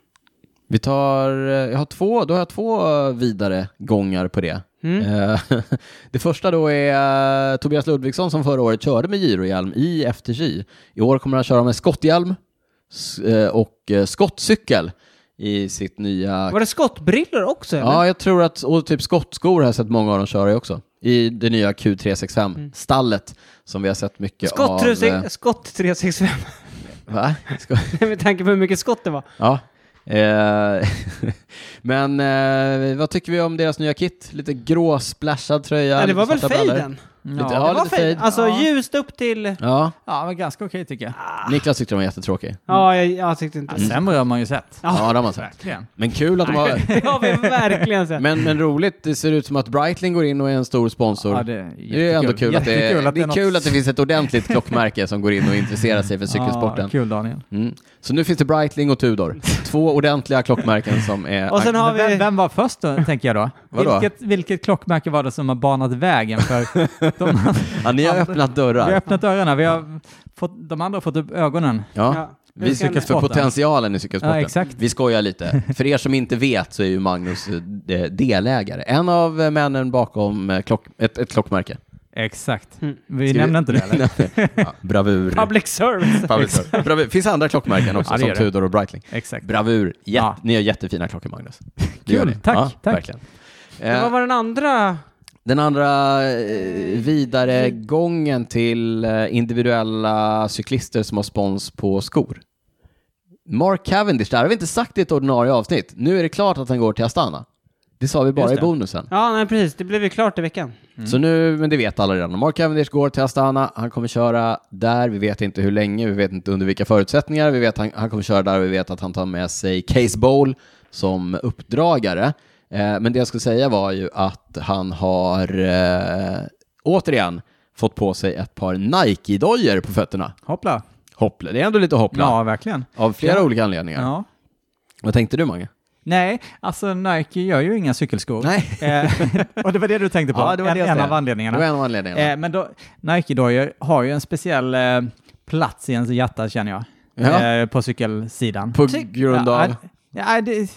A: Vi tar, eh, jag har två, då har jag två eh, vidare gångar på det.
B: Mm.
A: Eh, Det första då är eh, Tobias Ludvigsson som förra året körde med girohjälm i FTG. I år kommer han köra med skotthjälm s- eh, och eh, skottcykel i sitt nya...
B: Var det skottbrillor också, eller?
A: Ja, jag tror att, och typ skottskor har jag sett många av dem köra i också. I det nya Q365-stallet som vi har sett mycket
B: skott,
A: av. eh,
B: 365 skott 365,
A: Va? Sko-
B: med tanke på hur mycket skott det var.
A: Ja. Eh, men eh, vad tycker vi om deras nya kit? Lite grå splashad tröja.
B: Nej, det var
A: lite
B: väl
A: svarta brallor.
B: fejden?
A: Lite,
C: Ja.
A: ja, Mm.
B: det var
A: lite fade.
B: fejden. Alltså
C: Ja.
B: ljust upp till...
A: Ja,
C: ja, men ganska okej tycker jag.
B: Ah.
A: Niklas tyckte de var jättetråkiga.
B: Ja, jag, jag tyckte inte...
C: Ja, Sämre har man ju sett.
A: Ja,
B: Ja.
A: det har man sagt.
C: Verkligen.
A: Men kul att de har...
B: Det har vi verkligen sett.
A: Men, men roligt, det ser ut som att Breitling går in och är en stor sponsor.
C: Ja,
A: det,
C: det är
A: är ändå kul att det,
C: Jättekul
A: är,
C: att
A: det är
C: något-
A: kul att det finns ett ordentligt klockmärke som går in och intresserar sig för cykelsporten.
C: Ja, kul Daniel.
A: Mm. Så nu finns det Breitling och Tudor. Två ordentliga klockmärken som är...
B: Och sen har
C: Men vem,
B: vi...
C: vem var först då, tänker jag då?
A: Vadå?
C: Vilket, vilket klockmärke var det som har banat vägen för de,
A: Ja, ni har öppnat
C: Vi har
A: dörrar.
C: öppnat öronen, vi har fått, de andra har fått upp ögonen.
A: Ja.
B: nu
A: Vi
B: ska
A: söker
B: ni-
A: för potentialen i cykelsporten.
C: Ja, exakt.
A: Vi skojar lite. För er som inte vet så är ju Magnus eh, delägare. En av eh, männen bakom eh, klock, ett, ett klockmärke.
C: Exakt.
B: Mm.
C: Vi
A: Ska vi-
C: nämnde inte det eller?
A: Ja, bravur.
B: Public service.
A: Public service. Bravur. finns andra klockmärken också,
C: Ja, det
A: som
C: gör det.
A: Tudor och Breitling.
C: Exakt.
A: Bravur. Jätte,
C: Ja.
A: Ni har jättefina klockor, Magnus. Det
C: Kul.
A: gör ni.
C: Tack, tack.
A: Verkligen.
B: Det
A: Eh,
B: var den andra...
A: Den andra eh, vidare gången till eh, individuella cyklister som har spons på skor. Mark Cavendish, där har vi inte sagt det i ett ordinarie avsnitt. Nu är det klart att han går till Astana. Det sa vi bara
C: Just
A: i
C: det.
A: bonusen.
B: Ja, nej, precis. Det blev ju klart i veckan.
C: Mm.
A: Så nu, men det vet alla redan. Mark Cavendish går till Astana, han kommer köra där, vi vet inte hur länge, vi vet inte under vilka förutsättningar, vi vet han, han kommer köra där, vi vet att han tar med sig Case Bowl som uppdragare. Eh, men det jag skulle säga var ju att han har eh, återigen fått på sig ett par Nike-dojor på fötterna.
C: Hoppla.
A: Hoppla, det är ändå lite hoppla.
C: Ja, verkligen.
A: Av flera
C: Ja.
A: olika anledningar.
C: Ja.
A: Vad tänkte du Mange?
C: Nej, alltså Nike gör ju inga cykelskor.
A: Nej,
C: Eh, och det var det du tänkte på,
A: Ja, det var
C: en,
A: det jag
C: en
A: tänkte.
C: av anledningarna.
A: det var en av anledningarna.
C: Eh, men då, Nike-dojor har ju en speciell eh, plats i ens hjärta känner jag.
A: Ja.
C: Eh, på cykelsidan.
A: på grund
C: Ja,
A: av...
C: nej, nej, det,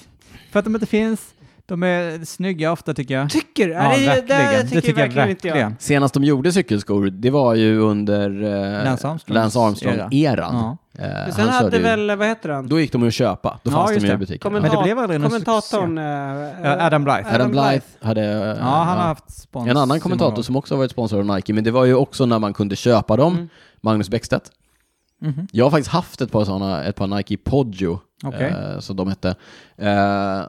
C: för att de inte finns. De är snygga ofta tycker jag.
B: Tycker du? Ja, det, det,
C: verkligen.
B: det tycker, jag verkligen inte jag.
C: verkligen.
A: Senast de gjorde cykelskor, det var ju under eh,
C: Lance Armstrongs
A: Lance Armstrong-eran.
C: Ja.
A: Eh,
B: Men sen
A: han körde
B: hade
A: ju,
B: väl, vad heter han?
A: Då gick de ju att köpa, då
C: Ja,
A: fanns
C: just
A: de ju i
C: det.
A: butiken.
C: Men
B: Kommenta-
C: det blev aldrig någon
B: kommentatorn... eh,
C: Eh, Adam Blythe.
A: Adam Blythe hade... eh,
C: Ja, han har haft spons.
A: En
C: i många
A: annan kommentator
C: år.
A: som också har varit sponsor av Nike, men det var ju också när man kunde köpa dem,
B: Mm.
A: Magnus Bäckstedt.
C: Mhm.
A: Jag har faktiskt haft ett par sådana, ett par Nike Poggio,
C: Okej.
A: eh, som de hette. Eh,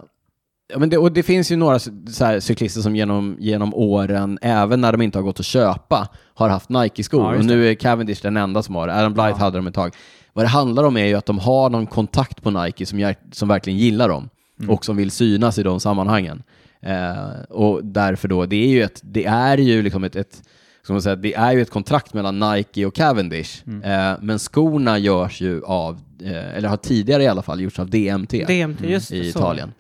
A: ja, men det, och det finns ju några så så här, cyklister som genom, genom åren, även när de inte har gått att köpa, har haft
C: Ja,
A: Nike-skor.
C: just
A: och
C: det.
A: nu är Cavendish den enda som har det. Adam Blythe
C: Ja.
A: hade dem ett tag. Vad det handlar om är ju att de har någon kontakt på Nike som, gär- som verkligen gillar dem
C: Mm.
A: och som vill synas i de sammanhangen. Eh, och därför då, det är ju ett, det är ju liksom ett, ett ska man säga, det är ju ett kontrakt mellan Nike och Cavendish, eh, men skorna görs ju av, eh, eller har tidigare i alla fall gjorts av DMT
B: DMT, just det,
A: Mm, i
B: så.
A: Italien.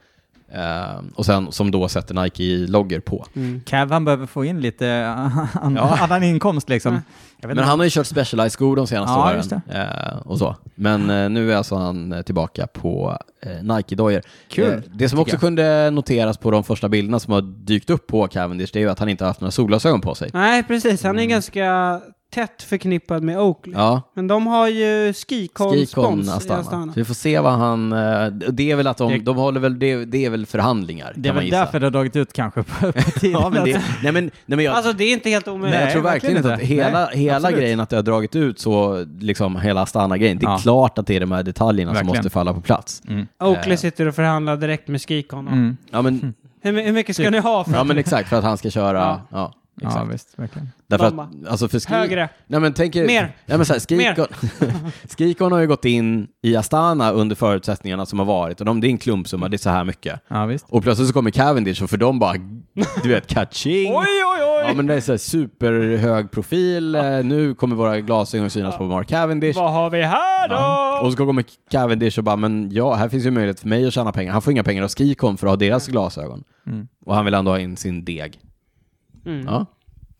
A: Eh, och sen som då sätter Nike i logger på.
B: Mm.
C: Cav, han behöver få in lite eh, an,
A: Ja.
C: annan inkomst liksom.
B: Mm.
C: Jag vet
A: Men
C: inte.
A: han har ju kört Specialized-skor de senaste
C: Ja, just
A: åren. Eh, och så. Men eh, nu är alltså han eh, tillbaka på eh, Nike-dojor.
C: Kul,
A: Eh, det som också
C: jag.
A: kunde noteras på de första bilderna som har dykt upp på Cavendish, det är ju att han inte har haft några solglasögon på sig.
B: Nej, precis. Han är ganska tätt förknippad med Oakley.
A: Mm. Ja,
B: Men de har ju Skikon
A: Skikon
B: spons i
A: Astana.
B: Astana.
A: Så vi får se vad han... eh, Det är väl att de,
C: Det-
A: de håller väl, det, det är väl förhandlingar
C: Det är
A: kan man
C: väl
A: gissa.
C: därför det har dragit ut kanske på, på tiden.
A: Ja, men det,
C: Alltså,
A: nej men, nej men jag,
B: Alltså det är inte helt
A: nej,
B: omöjligt.
A: jag tror verkligen
C: verkligen
A: inte att
C: inte.
A: hela,
C: Nej,
A: hela
C: absolut.
A: grejen att det har dragit ut så, liksom hela Astana-grejen, det är
C: Ja.
A: klart att det är de här detaljerna som
C: Verkligen.
A: måste falla på plats.
C: Mm.
B: Oakley sitter och förhandlar direkt med Skikon. om
C: Mm.
A: Ja men,
B: Hur, my- hur mycket ska ni ha för
A: Typ. ja men exakt, för att han ska köra...
B: Ja.
A: Ja.
C: Ja,
A: exakt.
C: visst, verkligen.
A: Därför
B: Bamba.
A: att, alltså för Skikon-
B: högre?
A: Nej men tänk er,
B: Mer.
A: Nej, men så här, Skikon, Skikon har ju gått in i Astana under förutsättningarna som har varit och de, det är en klumpsumma, det är så här mycket.
C: Ja, visst.
A: Och plötsligt så kommer Cavendish och för dem bara, du vet, catching.
B: Oj, oj,
A: Ja
B: oj!
A: men det är så här superhög profil, Eh, nu kommer våra glasögon synas på Mark Cavendish.
B: Vad har vi här då?
A: Och så kommer Cavendish och bara, men ja, här finns ju möjlighet för mig att tjäna pengar. Han får inga pengar av Skikon för att ha deras glasögon.
C: Mm.
A: Och han vill ändå ha in sin deg.
B: Mm.
A: Ja,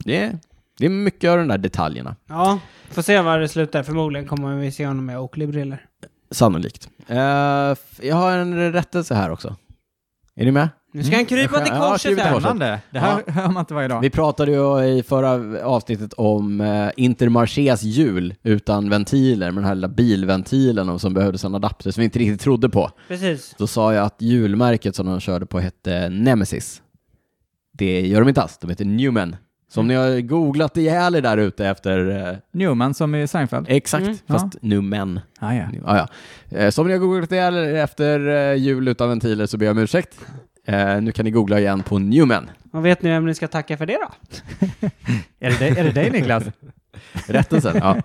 A: det är, det är mycket av de där detaljerna.
B: Ja, får se var det slutar. Förmodligen kommer vi se honom med Oakley-brillor.
A: Sannolikt. Eh, f- jag har en rättelse här också. Är ni med?
B: Nu ska han krypa till
A: Mm. Ja, ja,
B: korset
A: kryp till
B: här.
A: korset.
C: Spännande. Det här hör man inte varje dag.
A: Vi pratade ju i förra avsnittet om eh, Intermarchés hjul utan ventiler, med den här lilla bilventilen och som behövdes en adapter som vi inte riktigt trodde på.
B: Precis.
A: Då sa jag att hjulmärket som de körde på hette Nemesis. Det gör de inte alls, de heter Newman. Så om ni har googlat ihjäl er där ute efter... Eh,
C: Newman som i Seinfeld.
A: exakt,
B: Mm.
A: fast Newman.
C: Ah, ja.
A: Ja, ja. Eh, Så om ni har googlat ihjäl er efter eh, hjul utan ventiler så ber jag om ursäkt. Eh, nu kan ni googla igen på Newman.
B: Och vet ni vem ni ska tacka för det då?
C: Är det dig- är det dig Niklas?
A: Rättelsen, ja.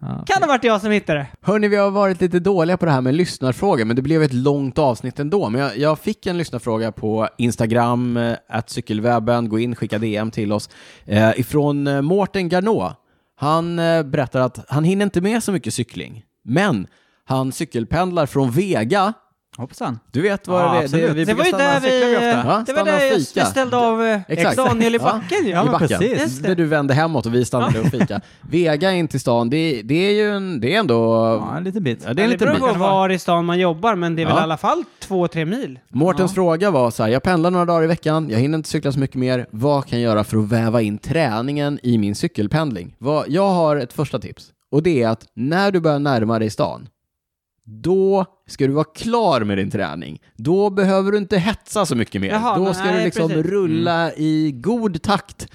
C: Ja.
B: Kan det ha varit jag som hittade det?
A: Hörni, vi har varit lite dåliga på det här med lyssnarfrågor, men det blev ett långt avsnitt ändå. Men jag, jag fick en lyssnarfråga på Instagram, eh, att cykelwebben, gå in, skicka DM till oss, eh, ifrån eh, Mårten Garnå. Han eh, berättar att han hinner inte med så mycket cykling, men han cykelpendlar från Vega.
C: Hoppsan.
A: Du vet vad
C: Ja,
A: det är?
C: absolut.
A: vi
B: Det var ju
A: brukar
B: där
A: stanna-
B: vi... eh,
C: cyklar vi ofta.
A: Ja,
B: Det
A: stanna
B: var där
A: och
B: jag
A: fika.
B: ställde av eh,
A: Exakt.
B: Daniel i backen ju.
C: Ja,
A: i
C: men
A: backen.
C: precis.
B: Just det.
A: Där du vände hemåt och vi stannade och fika. Vega in till stan, det, det är ju en, det är ändå...
C: Ja, en liten bit.
A: Ja, det är
B: Det,
A: en
B: det
A: liten
B: beror
A: bit.
B: på var i stan man jobbar, men det är väl
A: Ja.
B: i alla fall två, tre mil.
A: Mårtens fråga var så här, jag pendlar några dagar i veckan, jag hinner inte cykla så mycket mer. Vad kan jag göra för att väva in träningen i min cykelpendling? Vad, jag har ett första tips och det är att när du börjar närma dig stan, då ska du vara klar med din träning. Då behöver du inte hetsa så mycket mer.
B: Jaha,
A: då
B: men
A: ska
B: nej,
A: du liksom
C: Mm.
B: precis.
A: rulla i god takt.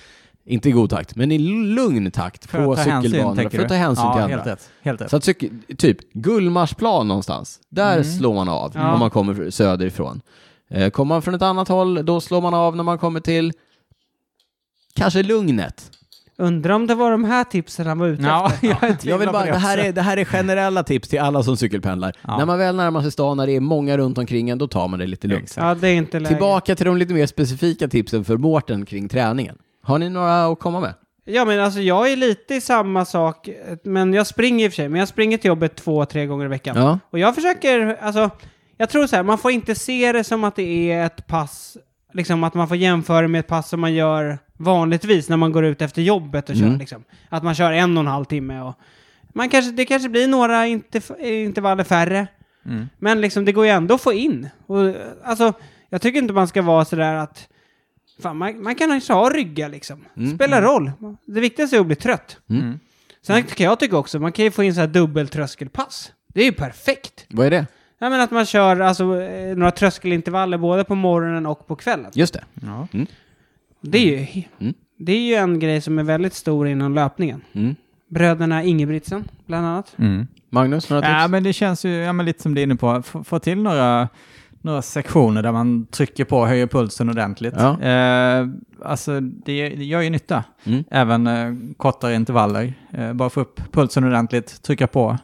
A: Inte i god takt, men i lugn takt
C: För
A: på
C: att ta hänsyn,
A: cykelbanorna
C: tänker
A: för
C: du?
A: att ta hänsyn
C: ja,
A: till
C: helt
A: andra.
C: rätt. Helt rätt.
A: Så att cykel, typ Gullmarsplan någonstans, där
C: Mm.
A: slår man av
B: Ja.
A: om man kommer söderifrån. Eh, kommer man från ett annat håll, då slår man av när man kommer till kanske Lugnet.
B: Undrar om det var de här tipsen han var ute
C: Ja,
B: efter.
C: jag,
A: Jag vill bara, det, här
C: också.
A: är, det här är generella tips till alla som cykelpendlar.
C: Ja.
A: När man väl närmar sig stan, när det är många runt omkring en, då tar man det lite lugnt.
C: Exakt.
B: Ja, det är inte läge.
A: Tillbaka till de lite mer specifika tipsen för Mårten kring träningen. Har ni några att komma med?
B: Ja, men alltså jag är lite i samma sak, men jag springer i och för sig, men jag springer till jobbet två, tre gånger i veckan.
A: Ja.
B: Och jag försöker, alltså, jag tror så här, man får inte se det som att det är ett pass, liksom att man får jämföra det med ett pass som man gör vanligtvis när man går ut efter jobbet och kör,
A: Mm.
B: liksom. Att man kör en och en halv timme och man kanske, det kanske blir några interf- intervaller färre,
C: Mm.
B: men liksom det går ju ändå att få in. Och, eh, alltså, jag tycker inte man ska vara sådär att, fan, man, man kan kanske ha rygga liksom. Spelar roll. Det viktigaste är att bli trött.
A: Mm.
B: Sen kan jag tycka också, man kan ju få in så här dubbeltröskelpass. Det är ju perfekt.
A: Vad är det?
B: Ja, men att man kör alltså, eh, några tröskelintervaller både på morgonen och på kvällen.
A: Just det.
C: Ja.
B: Det, är ju,
A: Mm.
B: det är ju en grej som är väldigt stor inom löpningen.
A: Mm.
B: Bröderna Ingebrigtsen, bland annat.
C: Mm.
A: Magnus, några tips?
C: Ja, men det känns ju ja, men lite som du är inne på. F få till några, några sektioner där man trycker på och höjer pulsen ordentligt.
A: Ja.
C: Eh, alltså, det, det gör ju nytta.
A: Mm.
C: Även eh, kortare intervaller. Eh, bara få upp pulsen ordentligt, trycka på.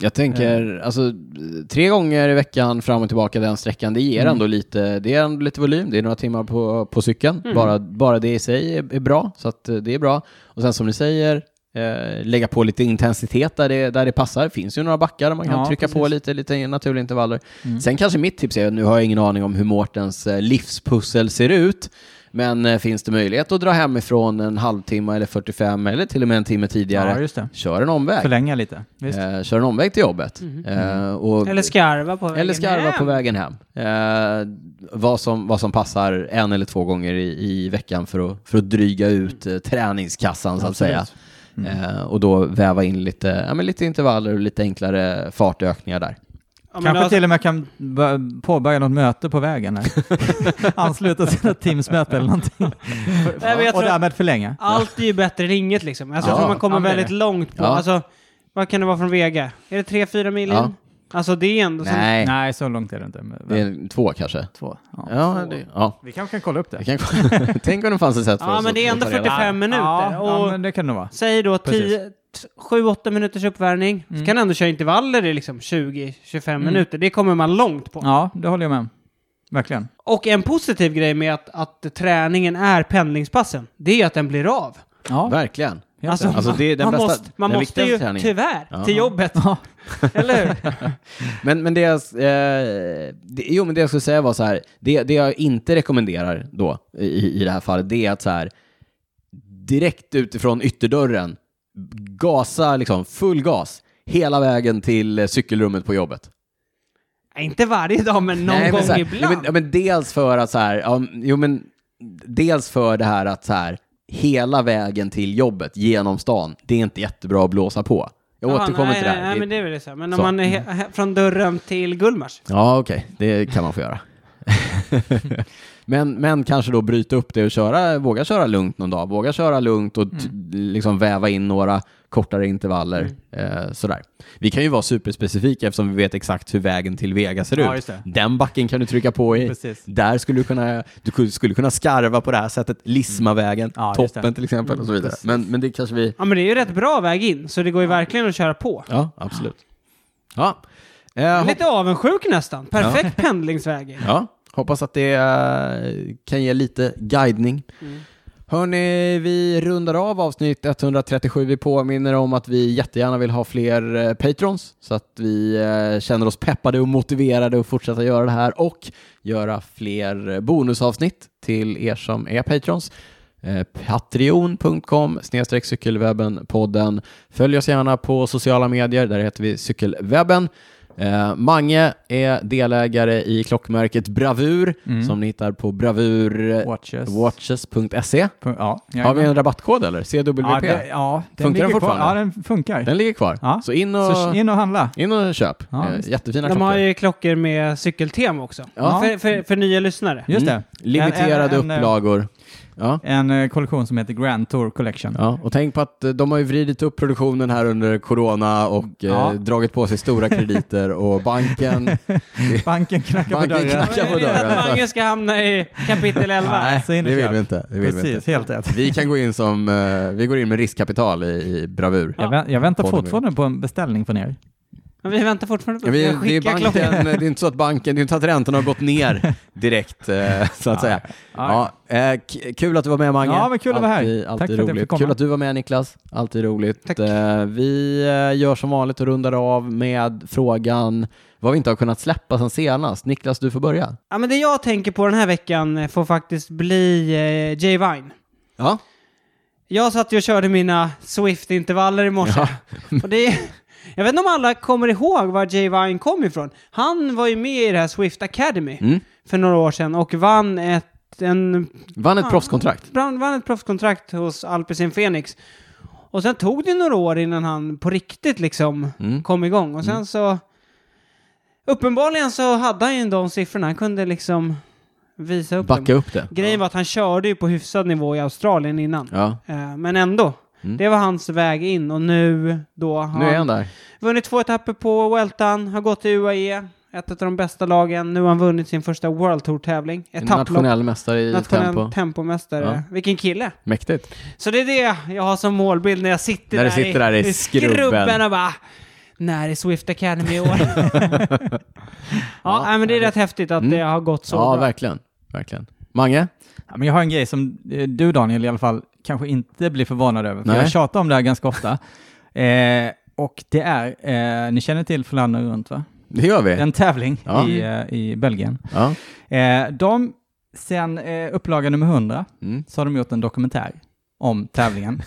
A: Jag tänker,
C: Eh.
A: alltså tre gånger i veckan fram och tillbaka den sträckan, det ger
C: Mm.
A: ändå lite, det är ändå lite volym, det är några timmar på, på cykeln.
C: Mm.
A: Bara, bara det i sig är, är bra, så att eh, det är bra. Och sen som ni säger, eh, lägga på lite intensitet där det, där det passar. finns ju några backar där man kan
C: Ja,
A: trycka på
C: precis.
A: lite, lite naturliga intervaller.
C: Mm.
A: Sen kanske mitt tips är, nu har jag ingen aning om hur Mårtens eh, livspussel ser ut, Men eh, finns det möjlighet att dra hemifrån en halvtimme eller 45 eller till och med en timme tidigare,
C: Ja, just det.
A: kör en omväg.
C: Förlänga lite. Visst.
A: Eh, kör en omväg till jobbet. Eh, och,
B: Mhm. Mm. Eller skarva på vägen
A: eller skarva
B: hem.
A: på vägen hem. Eh, vad, som, vad som passar en eller två gånger i, i veckan för att, för att dryga ut eh, träningskassan så att säga.
B: Mm.
A: Eh, och då väva in lite, ja, men lite intervaller och lite enklare fartökningar där.
B: Ja, men
C: Kanske
B: alltså,
C: till och med kan bör- påbörja något möte på vägen. här. Ansluta sig till ett Teams-möte eller någonting.
B: Nej, men jag
C: och
B: tror-
C: därmed förlänga.
B: Allt är ju bättre än inget liksom. Alltså,
A: Ja.
B: Jag tror man kommer
C: Ja, men det är
B: väldigt
C: det.
B: långt på.
A: Ja.
B: Alltså, vad kan det vara från Vega? Är det 3-4 mil in?
A: Ja.
B: Alltså det är ändå... som-
A: Nej,
C: Nej, så långt är det inte. Men-
A: det är två kanske.
C: Två. Ja.
A: Ja, det, ja.
C: Vi kanske kan kolla upp
A: Jag
C: det.
A: kan, tänk om det fanns ett sätt för
B: Ja,
A: oss
B: men
A: att
B: det är ändå
A: ta reda på.
B: 45 minuter.
C: Ja,
B: Och-
C: ja, men det kan det nog vara.
B: Säg då
C: Precis.
B: 10 t- 7-8 minuters uppvärmning.
A: Mm.
B: Så kan du ändå köra intervaller i liksom 20-25 minuter. Det kommer man långt på.
C: Ja, det håller jag med om. Verkligen.
B: Och en positiv grej med att, att träningen är pendlingspassen, det är att den blir av.
C: Ja,
A: Verkligen.
C: helt rätt.
A: Alltså, det är den
B: man
A: bästa-
B: måste, man
A: den
B: måste ju
A: viktigaste träningen.
B: tyvärr
A: Ja.
B: till jobbet.
C: Ja.
B: Eller hur?
A: Men, men det, jag, eh, det, jo, men det jag skulle säga var så här, det, det jag inte rekommenderar då i, i det här fallet, det är att så här, direkt utifrån ytterdörren, gasa liksom full gas hela vägen till eh, cykelrummet på jobbet.
B: Nej, Inte varje dag, men någon
A: men
B: gång
A: så här,
B: ibland.
A: Ja, men, ja, men dels för att så här, ja, jo, men dels för det här att så här, hela vägen till jobbet genom stan, det är inte jättebra att blåsa på. Jag
B: Ja,
A: återkommer
B: nej,
A: till det här.
B: Nej,
A: Det-
B: nej, men det är väl det så. här. Men om
A: Så. Mm.
B: man är he- he- från dörren till Gullmars.
A: Ja, okej, det kan man få göra. men, men kanske då bryta upp det och köra, våga köra lugnt någon dag. Våga köra lugnt och t-
C: Mm.
A: liksom väva in några kortare intervaller. Eh, sådär. Vi kan ju vara superspecifika eftersom vi vet exakt hur vägen till Vega ser
C: Ja,
A: ut.
C: just det.
A: Den backen kan du trycka på i.
C: Precis.
A: Där skulle du kunna, du ku- skulle kunna skarva på det här sättet. Lismavägen,
C: Mm. Ja, just det. Mm,
A: toppen till exempel och så vidare. Men, men det kanske vi...
B: Ja, men det är ju rätt bra väg in, så det går ju verkligen att köra på.
A: Ja, absolut. Ja. Eh,
B: Jag är
A: hopp-
B: Lite avundsjuk nästan. Perfekt pendlingsväg. in.
A: Ja, hoppas att det eh, kan ge lite guidning. Hörni, vi rundar av avsnitt 137. Vi påminner om att vi jättegärna vill ha fler eh, patrons så att vi eh, känner oss peppade och motiverade att fortsätta göra det här och göra fler eh, bonusavsnitt till er som är patrons. Eh, Patreon.com snedstreck cykelwebben-podden. Följ oss gärna på sociala medier, där heter vi cykelwebben. Eh, Mange är delägare i klockmärket Bravur som ni hittar på
C: Watches.
A: bravurwatches.se.
C: Ja, jag
A: Har vi en rabattkod eller?
C: ja,
A: CWP?
C: det, ja,
A: Funkar
C: den
A: den
C: ligger kvar.
A: fortfarande?
C: Ja, den funkar.
A: Den ligger kvar.
C: Ja.
A: Så in och,
C: Så in och handla.
A: in och köp.
C: Ja,
A: eh,
C: visst.
A: jättefina
B: De
A: klockor.
B: har ju klockor med cykeltema också.
A: Ja.
B: För, för, för nya lyssnare.
C: Just det.
A: Mm. Limiterade
C: En- en- en, eh,
A: upplagor. Ja.
C: En eh, kollektion som heter Grand Tour Collection.
A: Ja, och tänk på att eh, de har ju vridit upp produktionen här under corona och eh,
C: Ja.
A: dragit på sig stora krediter och banken...
C: Banken knackar på
A: Banken
C: dörren.
A: knackar. Knacka på
B: Jag vill inte
A: dörren.
B: att Mange ska hamna i kapitel 11.
C: Nej, så in och
A: det vill
C: köp.
A: vi inte. Det vill vi,
C: Precis,
A: inte.
C: helt rätt.
A: vi kan gå in som... eh, vi går in med riskkapital i, i bravur.
C: Jag, vä- jag väntar
A: Podden
C: fortfarande på en beställning från er.
B: Men vi väntar fortfarande på
A: Ja,
B: att
A: vi,
B: jag
A: det, är
B: skickar
A: banken,
B: klockan.
A: det är inte så att banken, det är inte att räntorna har gått ner direkt eh, så att säga. Ja, eh, k- kul att du var med Mange.
C: Ja, men kul att vara här.
A: Alltid,
C: Tack
A: alltid
C: för att jag fick
A: roligt.
C: komma.
A: Kul att du var med Niklas. Alltid roligt.
B: Tack.
A: Eh, vi eh, gör som vanligt och rundar av med frågan vad vi inte har kunnat släppa sen senast. Niklas, du får börja.
B: Ja, men det jag tänker på den här veckan eh, får faktiskt bli eh, Jay Vine.
A: Ja,
B: Jag satt ju och körde mina Swift-intervaller i morse. Och det, jag vet inte om alla kommer ihåg var Jay Vine kom ifrån. Han var ju med i det här Swift Academy
A: Mm.
B: för några år sedan och vann ett, en,
A: vann ett
B: Ja.
A: proffskontrakt.
B: vann vann ett proffskontrakt hos Alpecin Phoenix. Och sen tog det några år innan han på riktigt liksom
A: Mm.
B: kom igång. Och sen så... Uppenbarligen så hade han ju de siffrorna. Han kunde liksom visa upp dem.
A: Backa upp det.
B: Grejen var att han körde ju på hyfsad nivå i Australien innan.
A: Ja. Mm.
B: Eh, Men ändå. Det var hans väg in och nu då har
A: Nu är han
B: han
A: där.
B: vunnit två etapper på Weltan, har gått till UAE, E, ett av de bästa lagen. Nu har han vunnit sin första World Tour-tävling. Etapplopp.
A: Nationell mästare i tempo.
B: Nationell tempomästare.
A: Ja.
B: Vilken kille!
A: Mäktigt.
B: Så det är det jag har som målbild när jag sitter,
A: När du
B: där,
A: sitter där i skrubben.
B: och bara när är Swift Academy i år? ja, nej, men det är rätt häftigt att det har gått så
A: Mm. Ja,
B: bra.
A: verkligen. verkligen. Mange?
C: Ja, men jag har en grej som eh, du Daniel i alla fall kanske inte blir förvånad över, för
A: Nej.
C: jag tjatar om det här ganska ofta. Eh, och det är, eh, ni känner till Flandern runt va?
A: Det gör vi.
C: En tävling
A: Ja.
C: i, eh, i Belgien.
A: Ja.
C: Eh, de Sen eh, upplaga nummer 100
A: Mm.
C: så har de gjort en dokumentär om tävlingen.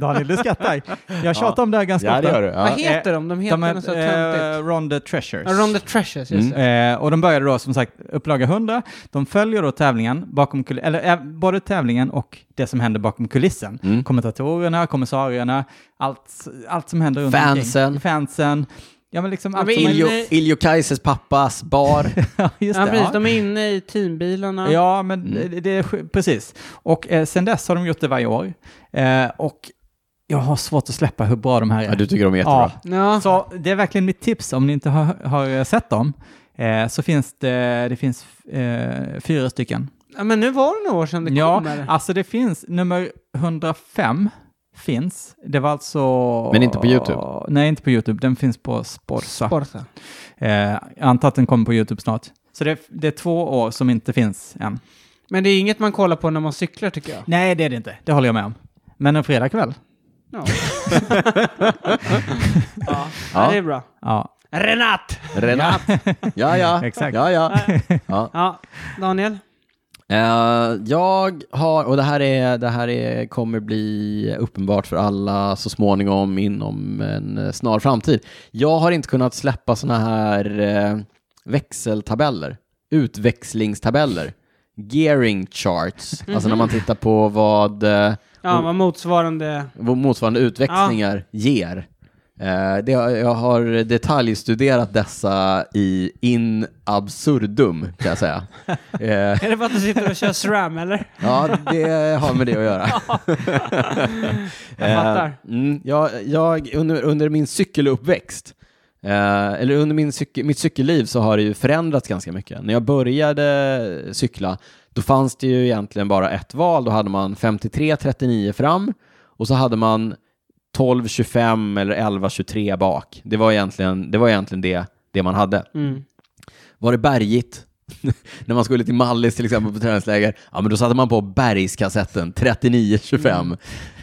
C: Daniel, du skrattar. Jag tjatar om det här ganska ofta.
A: du.
B: Vad heter de? De heter
C: De
B: något så töntigt.
C: heter eh, Ronda Treasures.
B: Ja, Ron the Treasures,
A: Mm.
B: just det.
C: Eh, och de började då som sagt upplaga 100. De följer då tävlingen bakom kul- eller eh, både tävlingen och det som händer bakom kulissen.
A: Mm.
C: Kommentatorerna, kommissarierna, allt, allt som händer runt
A: Fansen.
C: omkring. Fansen. Ja men liksom
B: Ja,
C: allt
B: men
C: som
A: Iljo,
C: händer.
B: Nej.
A: Iljo Kaises pappas bar.
C: Ja, just
B: Ja,
C: det,
B: precis.
C: ja.
B: De är inne i teambilarna.
C: Ja, men
A: Mm.
C: det, det är sk- precis. Och eh, sen dess har de gjort det varje år. Eh, och jag har svårt att släppa hur bra de här är.
A: ja, du tycker de är jättebra.
C: Ja,
B: Ja.
C: Så det är verkligen mitt tips om ni inte har, har sett dem. Eh, så finns det, det finns eh, fyra stycken.
B: Ja, men nu var det några år sedan det
C: ja,
B: kommer.
C: alltså det finns, nummer 105 finns. Det var alltså...
A: Men inte på YouTube?
C: Nej, inte på YouTube. Den finns på Sportsa.
B: Borta.
C: Eh, jag antar att den kommer på YouTube snart. Så det, det är två år som inte finns än.
B: Men det är inget man kollar på när man cyklar, tycker jag.
C: Nej, det är det inte. Det håller jag med om. Men en fredagkväll?
B: Ja.
A: Ja.
B: ja, det är bra.
C: Ja.
B: Renat!
A: Renat. Ja, ja.
C: Exakt.
A: Ja, ja. ja.
B: Ja, Daniel.
A: Eh, jag har, och det här, är, det här är, kommer bli uppenbart för alla så småningom inom en eh, snar framtid. Jag har inte kunnat släppa sådana här eh, växeltabeller, utväxlingstabeller, gearing charts, alltså när man tittar på vad eh,
B: Ja, vad motsvarande...
A: vad motsvarande utväxlingar ger. Eh, det, har- jag har detaljstuderat dessa i in absurdum, kan jag säga. Eh,
B: Är det för att du sitter och kör SRAM, eller?
A: Ja, det har med det att göra.
B: Jag fattar.
A: Eh, Mm, jag, jag, under, under min cykeluppväxt, eh, eller under min cykel, mitt cykelliv så har det ju förändrats ganska mycket. När jag började cykla, då fanns det ju egentligen bara ett val. Då hade man 53-39 fram och så hade man 12-25 eller 11-23 bak. Det var egentligen det, var egentligen det, det man hade.
B: Mm.
A: Var det bergigt? När man skulle till Mallis till exempel på träningsläger, ja men då satte man på bergskassetten 39-25.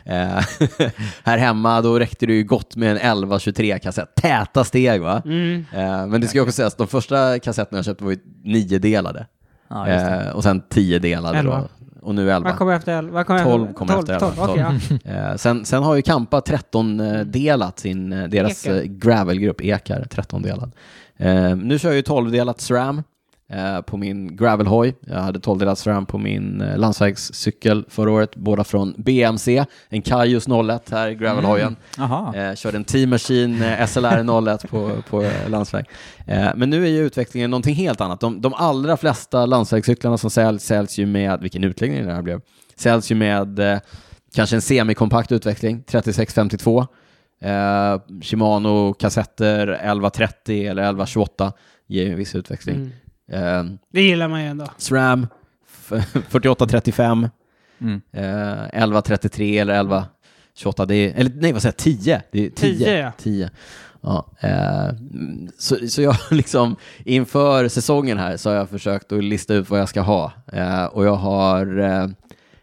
A: Eh, här hemma då räckte det ju gott med en 11-23 kassett. Täta steg va?
B: Mm.
A: Eh, men det ska ju också sägas, de första kassetterna jag köpte var ju nio-delade.
C: Ja, just det.
A: Eh, och sen tio-delade då.
B: Elva.
A: Och nu elva.
B: Vad kommer efter elva? Vad kommer
A: Tolv kommer efter elva.
B: Tolv, tolv, okej, ja.
A: Eh, sen, sen har ju Kampa 13-delat sin, eh, deras
B: Ekar.
A: eh, gravelgrupp, Ekar 13-delad. Eh, nu kör jag ju 12-delat SRAM eh, på min gravelhoj. Jag hade 12-delat SRAM på min eh, landsvägscykel förra året, båda från BMC, en Kajus 01 här, gravelhojen.
C: Jaha.
A: Eh, körde en Team Machine eh, SLR 01 på, på eh, landsväg. Eh, men nu är ju utvecklingen någonting helt annat. De, de allra flesta landsvägscyklarna som säljs, säljs ju med, vilken utläggning det här blev, säljs ju med eh, kanske en semikompakt utveckling, 3652. Eh, Shimano-kassetter 1130 eller 1128 ger ju en viss utväxling.
B: Mm.
A: Eh,
B: Det gillar man ju ändå.
A: SRAM f- 4835
C: Mm.
A: Eh, 11.33 eller 11.28, det är, eller nej vad säger jag, 10? Det är 10.
B: 10, ja.
A: 10. Ja, eh, mm, så, så jag liksom, inför säsongen här så har jag försökt att lista ut vad jag ska ha. Eh, och jag har eh,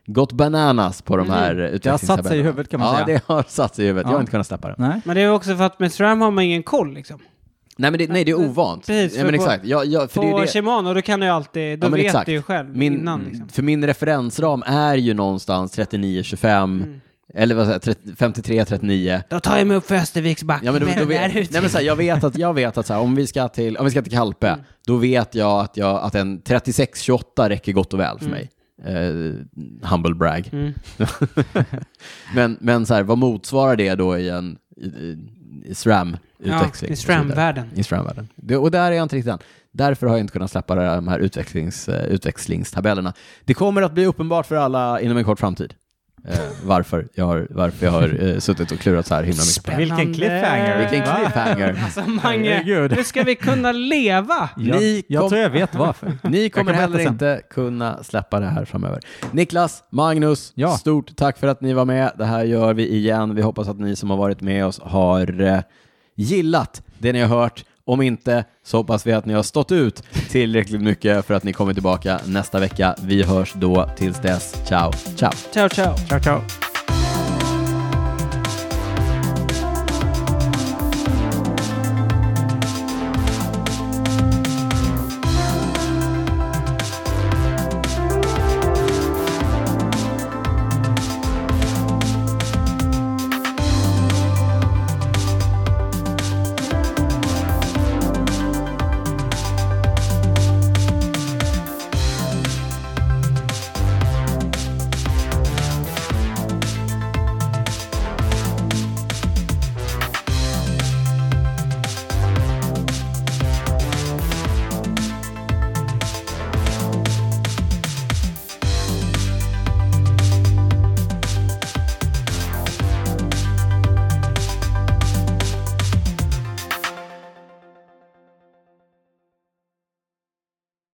A: gått bananas på de här mm.
C: Det har satt sig i huvudet kan man
A: ja,
C: säga.
A: det har satt sig i huvudet. Jag har
C: Ja.
A: inte kunnat släppa det.
C: Nej.
B: Men det är också för att med SRAM har man ingen koll, liksom.
A: Nej, men det, nej, det är ovant.
B: Precis,
A: ja,
B: för
A: men
B: på-
A: exakt. Jag, jag, för
B: På
A: det är ju det,
B: Shimano, då kan du ju alltid... Då
A: Ja, men
B: vet
A: exakt.
B: du ju själv
A: min, Mm.
B: innan, liksom.
A: För min referensram är ju någonstans 39-25,
C: Mm.
A: eller vad säger jag, 53-39.
B: Mm. Då tar jag mig upp för Österviks backe
A: Ja, men då,
B: med
A: då
B: den
A: vet,
B: där
A: nej, men så här, jag vet att, jag vet att så här, om, vi ska till, om vi ska till Kalpe,
B: Mm.
A: då vet jag att, jag att en 36-28 räcker gott och väl för mig. Eh, humble brag.
B: Mm.
A: Men, men så här, vad motsvarar det då i en i, i
B: Ja,
A: SRAM-utväxling?
B: i SRAM-världen.
A: I SRAM-världen. Det- Och där är jag inte riktigt än. Därför har jag inte kunnat släppa de här utväxlings, eh, utväxlingstabellerna. Det kommer att bli uppenbart för alla inom en kort framtid. Eh, varför jag har, varför jag har eh, suttit och klurat så här himla mycket på det. här.
C: Vilken cliffhanger.
A: Vilken cliffhanger.
B: Alltså Mange,
C: Herregud.
B: hur ska vi kunna leva?
C: Jag,
A: Ni kom-
C: jag tror jag vet varför.
A: Ni
C: kan
A: kommer
C: berätta
A: heller
C: sen.
A: inte kunna släppa det här framöver. Niklas, Magnus,
C: Ja.
A: stort tack för att ni var med. Det här gör vi igen. Vi hoppas att ni som har varit med oss har eh, gillat det ni har hört. Om inte så hoppas vi att ni har stått ut tillräckligt mycket för att ni kommer tillbaka nästa vecka. Vi hörs då. Tills dess, ciao, ciao.
B: Ciao, ciao.
C: Ciao, ciao.